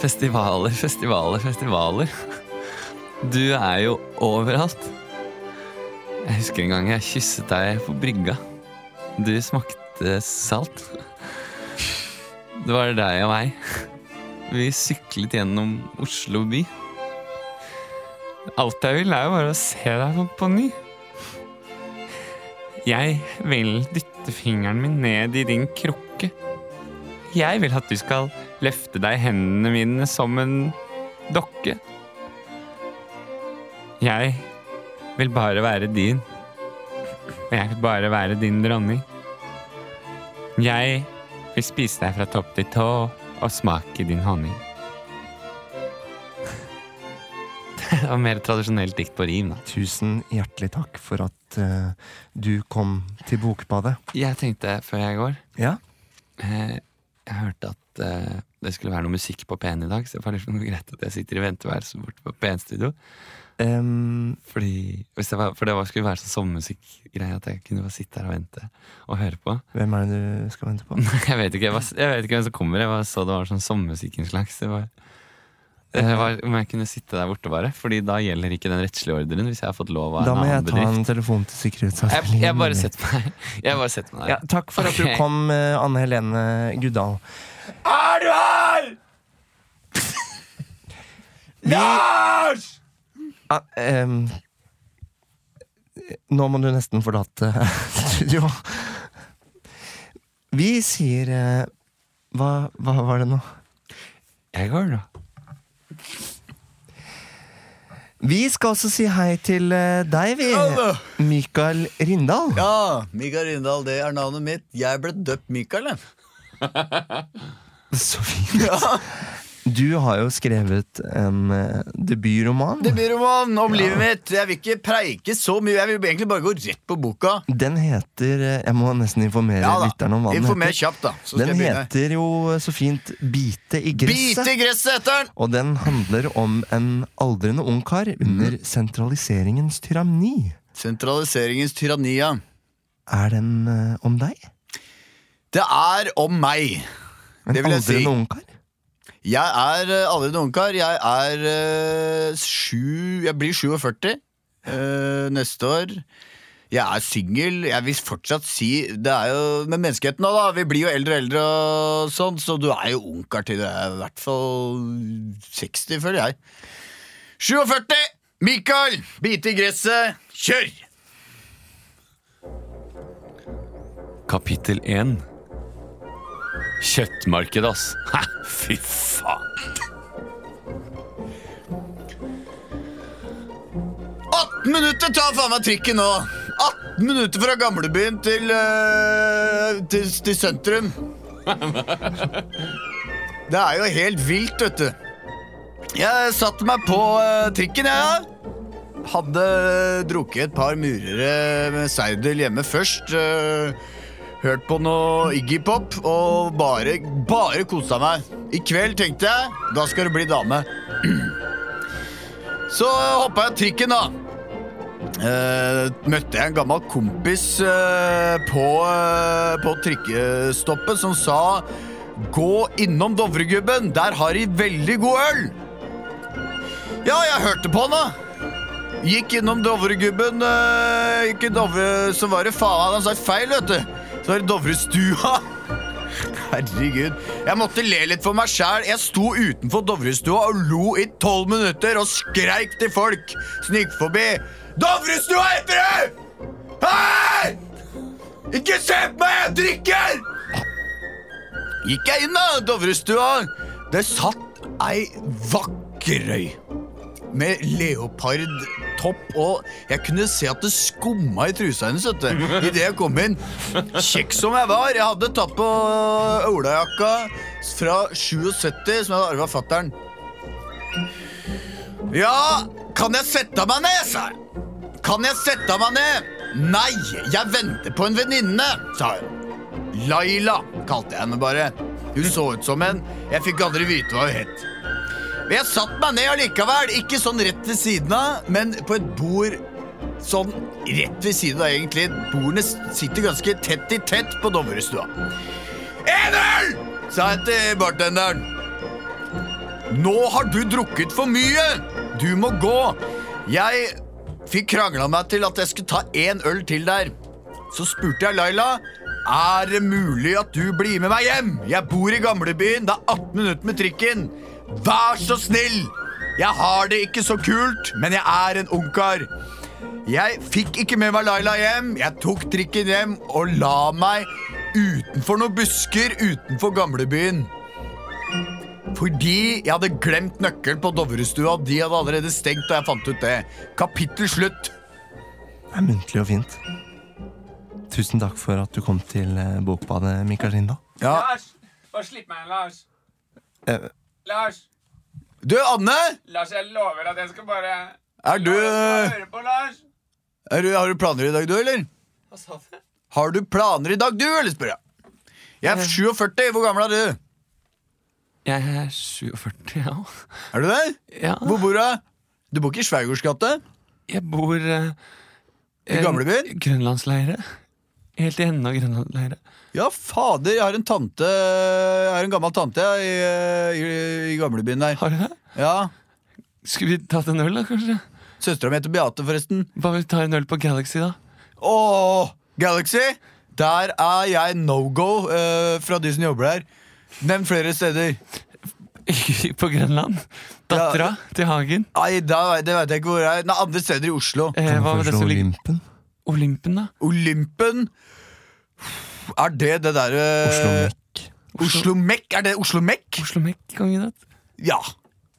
[SPEAKER 1] Festivaler, festivaler, festivaler. Du er jo overalt. Jeg husker en gang jeg kysset deg på brygga. Du smakte salt. Det var deg og meg. Vi syklet gjennom Oslo by. Alt jeg vil, er jo bare å se deg på, på ny. Jeg vil dytte fingeren min ned i din krukke. Jeg vil at du skal løfte deg i hendene mine som en dokke. Jeg vil bare være din. Jeg vil bare være din dronning. Jeg vil spise deg fra topp til tå og smake din honning. Det var mer tradisjonelt dikt på rim, da.
[SPEAKER 3] Tusen hjertelig takk for at eh, du kom til Bokbadet.
[SPEAKER 1] Jeg tenkte før jeg går
[SPEAKER 3] Ja?
[SPEAKER 1] eh, Jeg hørte at eh, det skulle være noe musikk på P1 i dag, så jeg bare lurte på om det var liksom greit at jeg sitter i venteværelset borte på P1-studio. Fordi hvis det var, For det var, skulle være sånn sommermusikkgreie at jeg kunne bare sitte her og vente og høre på.
[SPEAKER 3] Hvem er det du skal vente på?
[SPEAKER 1] Nei, Jeg vet ikke, jeg bare, jeg vet ikke hvem som kommer. Jeg bare så det var sånn sommermusikkinnslag. Så jeg bare, jeg var, om jeg kunne sitte der borte, bare. Fordi da gjelder ikke den rettslige ordren. Hvis jeg har fått lov av
[SPEAKER 3] Da
[SPEAKER 1] en
[SPEAKER 3] må jeg
[SPEAKER 1] annen
[SPEAKER 3] ta en
[SPEAKER 1] bedrift.
[SPEAKER 3] telefon til
[SPEAKER 1] Jeg,
[SPEAKER 3] sikkerhetsavdelingen.
[SPEAKER 1] jeg bare setter meg Jeg bare setter meg der.
[SPEAKER 3] Ja, takk for at
[SPEAKER 1] Ok.
[SPEAKER 3] du kom, eh, Anne Helene Guddal.
[SPEAKER 8] Er du her? Lars!
[SPEAKER 3] Ja, ehm, nå må du nesten forlate studio. Vi sier eh, hva, hva var det nå?
[SPEAKER 1] Jeg går, da.
[SPEAKER 3] Vi skal også si hei til eh, deg, vi. Mikael Rindal.
[SPEAKER 2] Ja, Mikael Rindal, det er navnet mitt. Jeg ble døpt Mikael, jeg.
[SPEAKER 3] Så fint. Du har jo skrevet en eh, debutroman.
[SPEAKER 2] Debutroman om livet mitt. Jeg vil ikke preike så mye. Jeg vil egentlig bare gå rett på boka.
[SPEAKER 3] Den heter eh, Jeg må nesten informere
[SPEAKER 2] Ja da,
[SPEAKER 3] lytterne om hva den
[SPEAKER 2] informer
[SPEAKER 3] heter.
[SPEAKER 2] kjapt da, så skal
[SPEAKER 3] den
[SPEAKER 2] jeg begynne.
[SPEAKER 3] heter jo eh, så fint Bite i gresset.
[SPEAKER 2] Bit i gresset heter den!
[SPEAKER 3] Og den handler om en aldrende ungkar
[SPEAKER 2] Mhm.
[SPEAKER 3] under sentraliseringens tyranni.
[SPEAKER 2] Sentraliseringens tyranni, ja.
[SPEAKER 3] Er den eh, om deg?
[SPEAKER 2] Det er om meg. Det vil jeg si.
[SPEAKER 3] aldrende ungkar?
[SPEAKER 2] Jeg er eh, aldri en ungkar. Jeg er eh, sju Jeg blir 47 eh, neste år. Jeg er singel. Jeg vil fortsatt si Det er jo med menneskeheten nå, da. Vi blir jo eldre og eldre og sånn, så du er jo ungkar til du er i hvert fall 60, føler jeg. 47! Mikael! Bite i gresset. Kjør!
[SPEAKER 13] Kapittel 1 Kjøttmarked, ass. Hæ, fy faen.
[SPEAKER 2] 18 minutter tar faen meg trikken nå! 18 minutter fra gamlebyen til, eh, til, til sentrum. Det er jo helt vilt, vet du. Jeg satte meg på eh, trikken, jeg. Ja. Hadde drukket et par murere med seidel hjemme først. eh, hørt på noe Iggy Pop og bare, bare kosa meg. I kveld tenkte jeg da skal du bli dame. Så hoppa jeg trikken, da. Eh, møtte jeg en gammel kompis eh, på, eh, på trikkestoppet som sa Gå innom Dovregubben, der har de veldig god øl! Ja, jeg hørte på han, da. Gikk innom Dovregubben eh, Ikke Dovre, så var det faen Han sa feil, vet du. Så var det Dovrestua. Herregud. Jeg måtte le litt for meg sjæl. Jeg sto utenfor Dovrestua og lo i tolv minutter og skreik til folk som gikk forbi. Dovrestua heter det! Hei! Ikke se på meg, jeg drikker! Gikk jeg inn, da, Dovrestua. Det satt ei vakkerøy med leopardtopp, og jeg kunne se at det skumma i trusa hennes vet du, idet jeg kom inn. Kjekk som jeg var. Jeg hadde tatt på olajakka fra 77, som jeg hadde arva av fattern. Ja, kan jeg sette meg ned, sa jeg. Kan jeg sette meg ned? Nei, jeg venter på en venninne, sa hun. Laila kalte jeg henne bare. Hun så ut som en. Jeg fikk aldri vite hva hun het. Men Jeg satt meg ned allikevel, ikke sånn rett ved siden av, men på et bord sånn rett ved siden av, egentlig. Bordene sitter ganske tett i tett på Dovrestua. En øl! sa jeg til bartenderen. Nå har du drukket for mye! Du må gå! Jeg fikk krangla meg til at jeg skulle ta én øl til der. Så spurte jeg Laila er det mulig at du blir med meg hjem. Jeg bor i gamlebyen. Det er 18 minutter med trikken. Vær så snill! Jeg har det ikke så kult, men jeg er en ungkar. Jeg fikk ikke med meg Laila hjem. Jeg tok trikken hjem og la meg utenfor noen busker utenfor gamlebyen. Fordi jeg hadde glemt nøkkelen på Dovrestua, og de hadde allerede stengt. og jeg fant ut det. Kapittel slutt.
[SPEAKER 3] Det er muntlig og fint. Tusen takk for at du kom til eh, Bokbadet, Mikaelina.
[SPEAKER 5] Lars! Bare slipp meg inn, Lars.
[SPEAKER 3] Eh,
[SPEAKER 5] Lars!
[SPEAKER 2] Du, Anne!
[SPEAKER 5] Lars, jeg lover at jeg skal bare
[SPEAKER 2] Er du,
[SPEAKER 5] høre på, Lars.
[SPEAKER 2] er du Har du planer i dag, du, eller?
[SPEAKER 5] Hva sa du?
[SPEAKER 2] Har du planer i dag, du, eller spør jeg.
[SPEAKER 5] Eh.
[SPEAKER 2] Jeg er 47. Hvor gammel er du?
[SPEAKER 5] Jeg er 47, ja.
[SPEAKER 2] Er du det?
[SPEAKER 5] Ja.
[SPEAKER 2] Hvor bor du? Du bor ikke i Sveigårds gate?
[SPEAKER 5] Jeg bor eh,
[SPEAKER 2] I gamlebyen?
[SPEAKER 5] Grønlandsleire. Helt i enden av Grønlandsleire.
[SPEAKER 2] Ja, fader, jeg har en tante Jeg har en gammel tante jeg, i, eh, i, i gamlebyen der.
[SPEAKER 5] Har du det?
[SPEAKER 2] Ja.
[SPEAKER 5] Skulle vi tatt en øl, da, kanskje?
[SPEAKER 2] Søstera mi heter Beate, forresten.
[SPEAKER 5] Hva om vi tar en øl på Galaxy, da?
[SPEAKER 2] Åh, Galaxy! Der er jeg no-go eh, fra de som jobber der. Nevn flere steder.
[SPEAKER 5] på Grønland? Dattera til Hagen?
[SPEAKER 2] Nei, da, vet- det veit jeg ikke hvor det er. Nei, andre steder i Oslo.
[SPEAKER 5] Eh, hva med det som ligger
[SPEAKER 3] Olympen?
[SPEAKER 5] Olympen, da?
[SPEAKER 2] Olympen? Er det det derre Oslo Mek. Oslo Mek? Er det Oslo Mek?
[SPEAKER 5] Oslo Mek, kandidat.
[SPEAKER 2] Ja.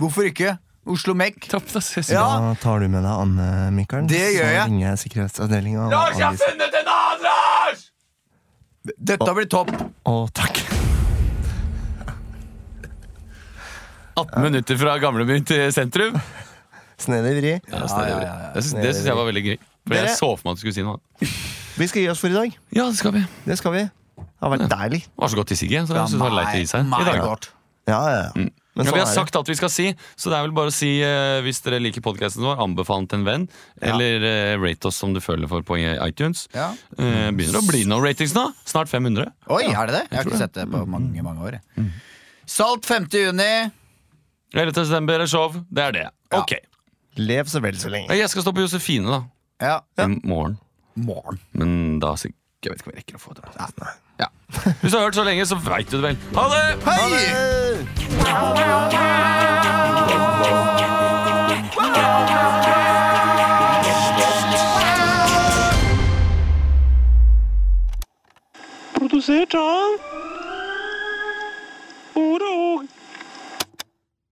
[SPEAKER 2] Hvorfor ikke? Oslo Mek.
[SPEAKER 5] Topp, da. Ses
[SPEAKER 3] Da tar du med deg Anne, Mikael.
[SPEAKER 2] Det gjør jeg.
[SPEAKER 3] Så ringer jeg sikkerhetsavdelinga.
[SPEAKER 2] Lars, jeg har
[SPEAKER 3] og-
[SPEAKER 5] funnet en annen, Lars!
[SPEAKER 2] Dette blir topp.
[SPEAKER 3] Og takk.
[SPEAKER 1] 18 minutter fra gamlebyen til sentrum.
[SPEAKER 3] Snedig vri.
[SPEAKER 1] Ja, snedig vri. Det syns- Det syns jeg var veldig gøy. For
[SPEAKER 3] Dere-
[SPEAKER 1] jeg så for meg at du skulle si noe.
[SPEAKER 3] Vi skal gi oss for i dag.
[SPEAKER 5] Ja, det skal vi.
[SPEAKER 3] Det skal vi. Det har vært deilig.
[SPEAKER 1] Det var så godt i sigget, så
[SPEAKER 3] Ja,
[SPEAKER 1] jeg synes det var leit å gi seg.
[SPEAKER 3] meg-
[SPEAKER 1] i dag.
[SPEAKER 3] meg godt. Ja, ja, ja. Men
[SPEAKER 1] Mm. ja,
[SPEAKER 3] sånn
[SPEAKER 1] vi har
[SPEAKER 3] er det.
[SPEAKER 1] sagt alt vi skal si, så det er vel bare å si eh, hvis dere liker podkasten vår, anbefal den til en venn, eller eh, rate oss som du føler for på iTunes.
[SPEAKER 2] Ja.
[SPEAKER 1] Eh, begynner å bli noen ratings nå. Snart 500.
[SPEAKER 2] Oi,
[SPEAKER 1] Ja,
[SPEAKER 2] er det Mm. det? Jeg har
[SPEAKER 1] tror
[SPEAKER 2] ikke sett det på mange mange år. jeg. Salt 5. juni.
[SPEAKER 1] 11. desember er show. Det er det. Ok.
[SPEAKER 3] Lev så vel så lenge.
[SPEAKER 1] Jeg skal stå på Josefine, da.
[SPEAKER 2] Ja.
[SPEAKER 1] I morgen.
[SPEAKER 2] Morgen.
[SPEAKER 1] Men da sik- Jeg vet ikke om jeg rekker å få det. Ja. Hvis du har hørt så lenge, så veit du det vel. Ha det!
[SPEAKER 2] Hei!
[SPEAKER 3] Ha det!